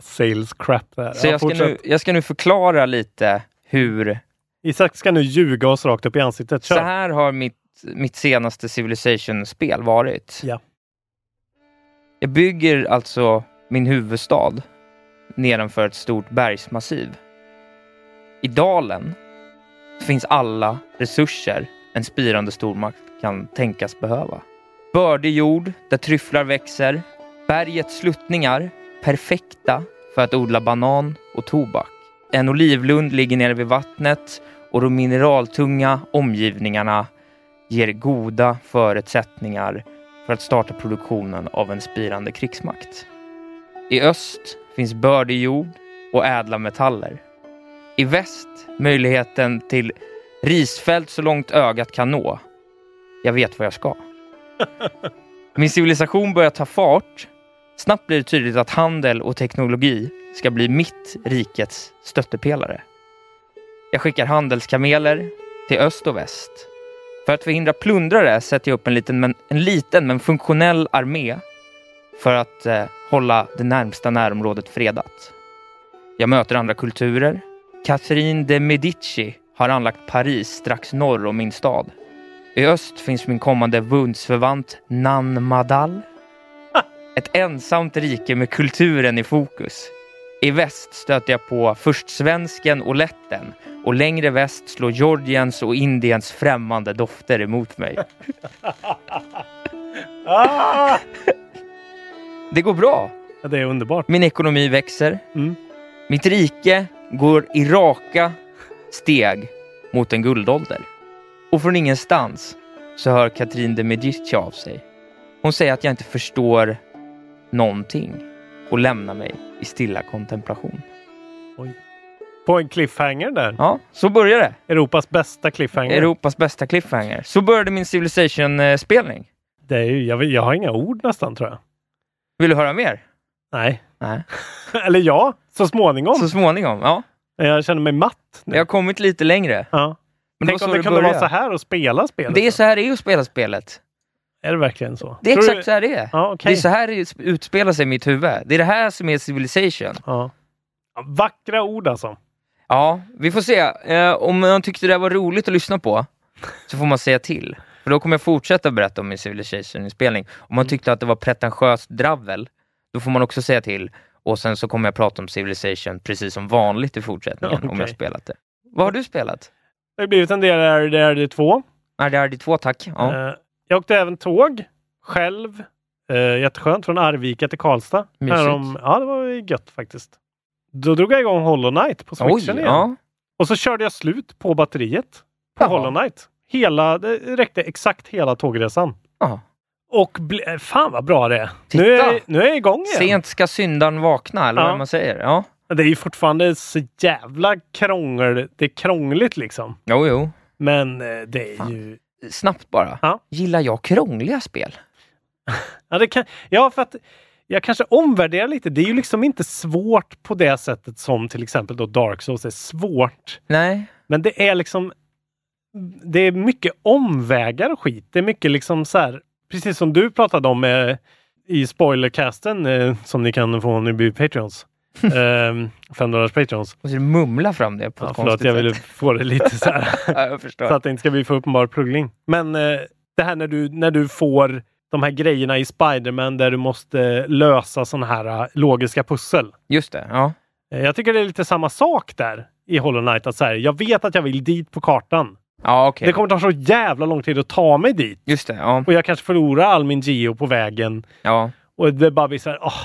S2: Sales crap där.
S3: Så jag ska, nu, jag ska nu förklara lite hur...
S2: Isak ska nu ljuga oss rakt upp i ansiktet. Kör.
S3: Så här har mitt, mitt senaste Civilization-spel varit.
S2: Ja.
S3: Jag bygger alltså min huvudstad nedanför ett stort bergsmassiv. I dalen finns alla resurser en spirande stormakt kan tänkas behöva. Bördig jord där tryfflar växer, bergets sluttningar perfekta för att odla banan och tobak. En olivlund ligger nere vid vattnet och de mineraltunga omgivningarna ger goda förutsättningar för att starta produktionen av en spirande krigsmakt. I öst finns bördig jord och ädla metaller. I väst möjligheten till risfält så långt ögat kan nå. Jag vet vad jag ska. Min civilisation börjar ta fart. Snabbt blir det tydligt att handel och teknologi ska bli mitt rikets stöttepelare. Jag skickar handelskameler till öst och väst. För att förhindra plundrare sätter jag upp en liten men, en liten, men funktionell armé för att eh, hålla det närmsta närområdet fredat. Jag möter andra kulturer. Catherine de Medici har anlagt Paris strax norr om min stad. I öst finns min kommande bundsförvant Nan Madal. Ett ensamt rike med kulturen i fokus. I väst stöter jag på först svensken och letten och längre väst slår Georgiens och Indiens främmande dofter emot mig.
S2: Ah!
S3: Det går bra.
S2: Ja, det är underbart.
S3: Min ekonomi växer.
S2: Mm.
S3: Mitt rike går i raka steg mot en guldålder. Och från ingenstans så hör Katrin de Medici av sig. Hon säger att jag inte förstår någonting och lämnar mig i stilla kontemplation.
S2: På en cliffhanger där.
S3: Ja, så börjar det.
S2: Europas bästa cliffhanger.
S3: Europas bästa cliffhanger. Så började min Civilization-spelning.
S2: Det är ju, jag, vet- jag har inga ord nästan tror jag.
S3: Vill du höra mer?
S2: Nej.
S3: Nej.
S2: Eller ja, så småningom.
S3: Så småningom, ja.
S2: Men Jag känner mig matt nu.
S3: Jag har kommit lite längre.
S2: Ja.
S3: Men
S2: Tänk
S3: var
S2: om
S3: så
S2: det kunde vara
S3: började.
S2: så här att spela spelet.
S3: Det är så här det är att spela spelet.
S2: Är det verkligen så?
S3: Det är
S2: Tror
S3: exakt
S2: du-
S3: så här det är.
S2: Ja, okej.
S3: Det är så här det utspelar sig i mitt huvud. Det är det här som är Civilization.
S2: Ja. Vackra ord alltså.
S3: Ja, vi får se. Eh, om man tyckte det här var roligt att lyssna på så får man säga till. För då kommer jag fortsätta berätta om min Civilization-inspelning. Om man tyckte att det var pretentiöst dravel, då får man också säga till. Och sen så kommer jag prata om Civilization precis som vanligt i fortsättningen, om jag
S2: Okej.
S3: spelat det. Vad har du spelat?
S2: Det har blivit en del RDRD2.
S3: RDRD2, tack. Ja.
S2: Eh, Jag åkte även tåg själv. Eh, jätteskönt från Arvika till Karlstad.
S3: Mysigt.
S2: Härom, ja, det var ju gött faktiskt. Då drog jag igång Hollow Knight på
S3: Oj,
S2: switchen igen.
S3: ja.
S2: Och så körde jag slut på batteriet på Hollow Knight. Hela, det räckte exakt hela tågresan.
S3: Jaha.
S2: Och ble, fan vad bra det är. Nu är, nu är jag igång igen.
S3: Sent ska syndaren vakna, eller
S2: Ja.
S3: vad man säger. Ja.
S2: Det är ju fortfarande så jävla krångel. Det är krångligt liksom.
S3: Jo, jo.
S2: Men eh, det är ju...
S3: Snabbt bara. Gillar jag krångliga spel?
S2: Ja, det kan, ja, för att jag kanske omvärderar lite. Det är ju liksom inte svårt på det sättet som till exempel då Dark Souls är svårt.
S3: Nej.
S2: Men det är liksom... Det är mycket omvägar och skit. Det är mycket liksom så här... Precis som du pratade om eh, i spoilercasten eh, som ni kan få om ni blir Patreons. Ehm, 5 Patreons.
S3: Och så mumla fram det på
S2: Ja,
S3: ett
S2: förlåt,
S3: konstigt
S2: jag ville
S3: sätt.
S2: få det lite så här.
S3: ja, jag förstår.
S2: Så att det inte ska bli för uppenbar pluggning. Men eh, det här när du, när du får de här grejerna i Spiderman där du måste lösa sådana här eh, logiska pussel.
S3: Just det, ja.
S2: Eh, jag tycker det är lite samma sak där i Hollow Knight. Att så här, jag vet att jag vill dit på kartan.
S3: Ja, okej.
S2: Det kommer ta så jävla lång tid att ta mig dit.
S3: Just det, ja.
S2: Och jag kanske förlorar all min geo på vägen.
S3: Ja.
S2: Och det bara blir så här, åh,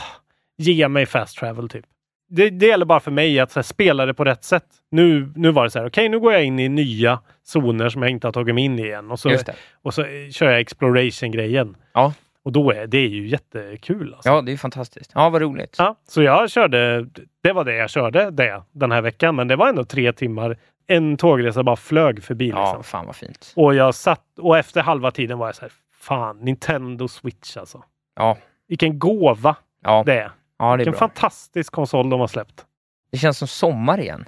S2: ge mig fast travel typ. Det, det gäller bara för mig att så här, spela det på rätt sätt. Nu, nu var det så här, okej nu går jag in i nya zoner som jag inte har tagit mig in i än. Och så,
S3: Just det.
S2: och så eh, kör jag exploration-grejen.
S3: Ja.
S2: Och då är det är ju jättekul. Alltså.
S3: Ja, det är ju fantastiskt. Ja, vad roligt.
S2: Ja, så jag körde, det var det jag körde det den här veckan, men det var ändå tre timmar. En tågresa bara flög förbi.
S3: Ja,
S2: Liksom.
S3: fan vad fint.
S2: Och jag satt och efter halva tiden var jag så här, fan, Nintendo Switch alltså.
S3: Ja.
S2: Vilken gåva
S3: Ja.
S2: det är.
S3: Ja, det är
S2: Vilken
S3: bra.
S2: fantastisk konsol de har släppt.
S3: Det känns som sommar igen.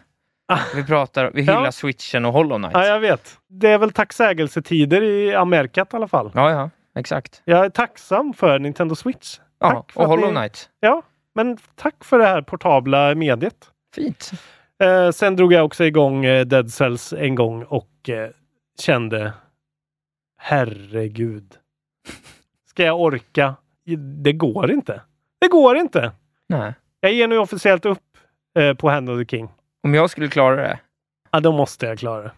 S3: Vi pratar, vi hyllar
S2: Ah. Ja.
S3: switchen och Hollow Knight.
S2: Ja, jag vet. Det är väl tacksägelsetider i Amerika i alla fall.
S3: Ja, ja, exakt.
S2: Jag är tacksam för Nintendo Switch.
S3: Ja,
S2: för
S3: och
S2: att ni-
S3: Hollow Knight.
S2: Ja, men tack för det här portabla mediet.
S3: Fint.
S2: Eh, sen drog jag också igång eh, Dead Cells en gång och eh, kände herregud. Ska jag orka? Det går inte. Det går inte.
S3: Nej.
S2: Jag ger nu officiellt upp eh, på Hand of the King.
S3: Om jag skulle klara det.
S2: Ja, då måste jag klara det.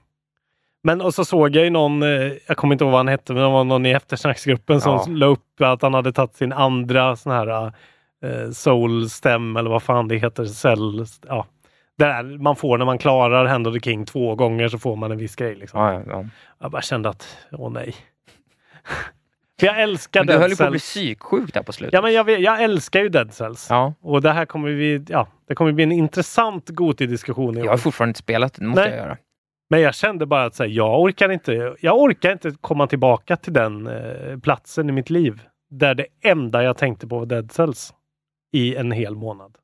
S2: Men och så såg jag ju någon, eh, jag kommer inte ihåg vad han hette, men det var någon i eftersnacksgruppen som
S3: Ja.
S2: la upp att han hade tagit sin andra sån här eh, soul stem eller vad fan det heter, cell, ja. Det där man får när man klarar Hand of the King två gånger så får man en viss grej. Liksom.
S3: Ja, ja, ja.
S2: Jag bara kände att, åh nej. För jag älskar
S3: Men du
S2: Dead
S3: höll ju på att
S2: Cells.
S3: bli psyksjuk där på slutet.
S2: Ja, men jag, vet- jag älskar ju Dead Cells.
S3: Ja.
S2: Och det här kommer vi, ja, det kommer bli en intressant Goti-diskussion i
S3: Jag
S2: år.
S3: har fortfarande inte spelat det, det måste
S2: Nej.
S3: jag göra.
S2: Men jag kände bara att så här, jag, orkar inte, jag orkar inte komma tillbaka till den eh, platsen i mitt liv där det enda jag tänkte på var Dead Cells i en hel månad.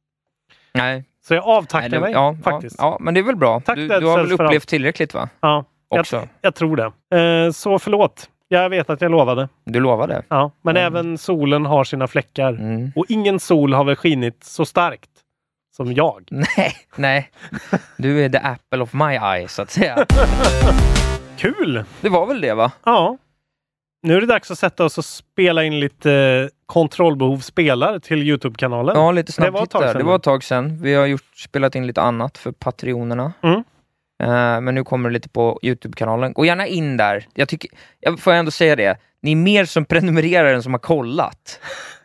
S3: Nej.
S2: Så jag avtackar
S3: Nej, det-
S2: mig
S3: ja,
S2: faktiskt.
S3: Ja, ja, men det är väl bra.
S2: Tack,
S3: du,
S2: Dead
S3: du har
S2: Cells,
S3: väl
S2: för
S3: upplevt
S2: allt.
S3: tillräckligt va?
S2: Ja, jag,
S3: Också.
S2: jag tror det. Eh, så förlåt. Jag vet att jag lovade.
S3: Du lovade.
S2: Ja, men
S3: Mm.
S2: även solen har sina fläckar. Och ingen sol har väl skinit så starkt som jag.
S3: Nej, nej. Du är the apple of my eye, så att säga.
S2: Kul!
S3: Det var väl det, va?
S2: Ja. Nu är det dags att sätta oss och spela in lite eh, kontrollbehov spelar till Youtube-kanalen.
S3: Ja, lite
S2: Det var ett
S3: snabbt
S2: tag
S3: där.
S2: sedan.
S3: Det var ett tag sedan. Vi har gjort, spelat in lite annat för Patreonerna.
S2: Mm.
S3: Eh, men nu kommer det lite på Youtube-kanalen. Gå gärna in där. Jag, tycker, jag får ändå säga det. Ni är mer som prenumererar än som har kollat.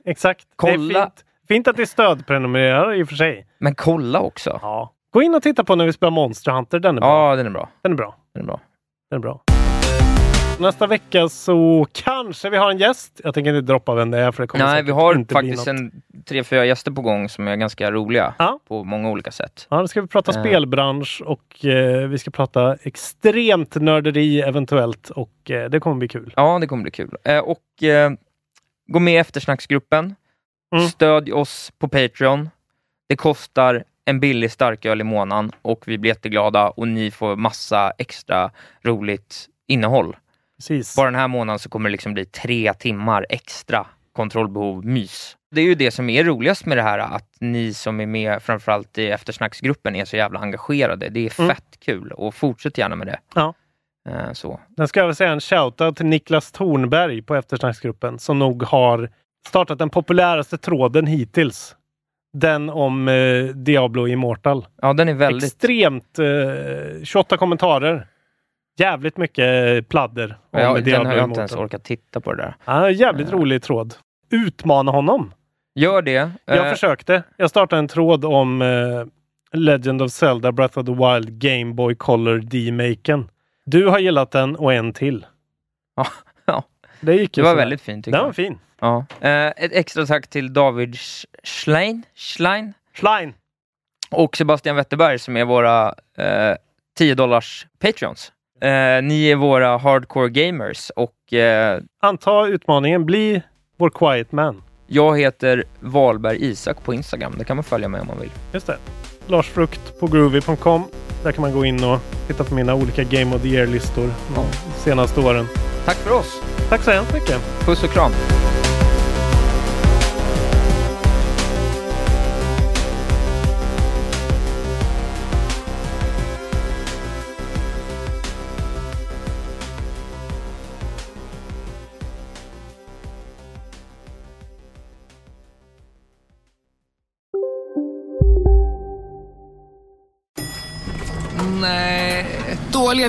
S2: Exakt. Det är
S3: Kolla.
S2: fint. fint att det är stödprenumererare i och för sig.
S3: Men kolla också.
S2: Ja. Gå in och titta på när vi spelar Monster Hunter. Den är bra.
S3: Ja, den är bra.
S2: Den är bra.
S3: Den är bra.
S2: Den är bra. Nästa vecka så kanske vi har en gäst. Jag tänker inte droppa vem det är för det kommer
S3: Nej,
S2: säkert
S3: vi har
S2: inte
S3: faktiskt
S2: bli något.
S3: en tre, fyra gäster på gång som är ganska roliga
S2: Ja.
S3: på många olika sätt.
S2: Ja, då ska vi prata
S3: Eh.
S2: spelbransch och eh, vi ska prata extremt nörderi eventuellt och eh, det kommer bli kul.
S3: Ja, det kommer bli kul. Eh, och eh, gå med i eftersnacksgruppen.
S2: Mm.
S3: Stödj oss på Patreon. Det kostar en billig starköl i månaden och vi blir jätteglada och ni får massa extra roligt innehåll.
S2: Precis.
S3: Bara den här månaden så kommer det liksom bli tre timmar extra kontrollbehov mys. Det är ju det som är roligast med det här, att ni som är med framförallt i eftersnacksgruppen är så jävla engagerade. Det är fett kul och fortsätt gärna med det.
S2: Mm. Ja.
S3: Eh, så.
S2: Sen ska jag väl säga en shoutout till Niklas Tornberg på eftersnacksgruppen som nog har startat den populäraste tråden hittills. Den om eh, Diablo Immortal.
S3: Ja, den är väldigt...
S2: Extremt... Eh, 28 kommentarer. Jävligt mycket eh, pladder om
S3: Ja, den
S2: Diablo
S3: har jag inte
S2: Immortal.
S3: ens Eh. orkat titta på det där.
S2: Ja, jävligt rolig tråd. Utmana honom.
S3: Gör det.
S2: Jag
S3: Eh,
S2: försökte. Jag startade en tråd om eh, Legend of Zelda Breath of the Wild Game Boy Color D-maken. Du har gillat den och en till.
S3: Ja.
S2: Det gick ju
S3: Det var
S2: sådär.
S3: väldigt fint. tycker
S2: Den
S3: jag.
S2: var fin.
S3: Ja. Eh, ett extra tack till David Sch- Schlein, Schlein
S2: Schlein.
S3: och Sebastian Wetterberg som är våra eh, 10 dollars patreons. Eh, ni är våra hardcore gamers och eh,
S2: Anta utmaningen, bli vår quiet man.
S3: jag heter Valberg Isak på Instagram. Där kan man följa mig om man vill.
S2: Just det. Lars Frukt på groovy.com. Där kan man gå in och titta på mina olika Game of the Year-listor de senaste åren.
S3: Tack för oss!
S2: Tack så hemskt mycket!
S3: Puss och kram!
S6: Nej. Dåliga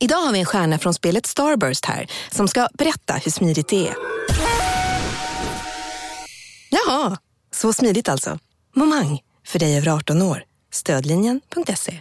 S7: Idag har vi en stjärna från spelet Starburst här som ska berätta hur smidigt det är. Jaha, så smidigt alltså. Momang, för dig över 18 år. Stödlinjen.se.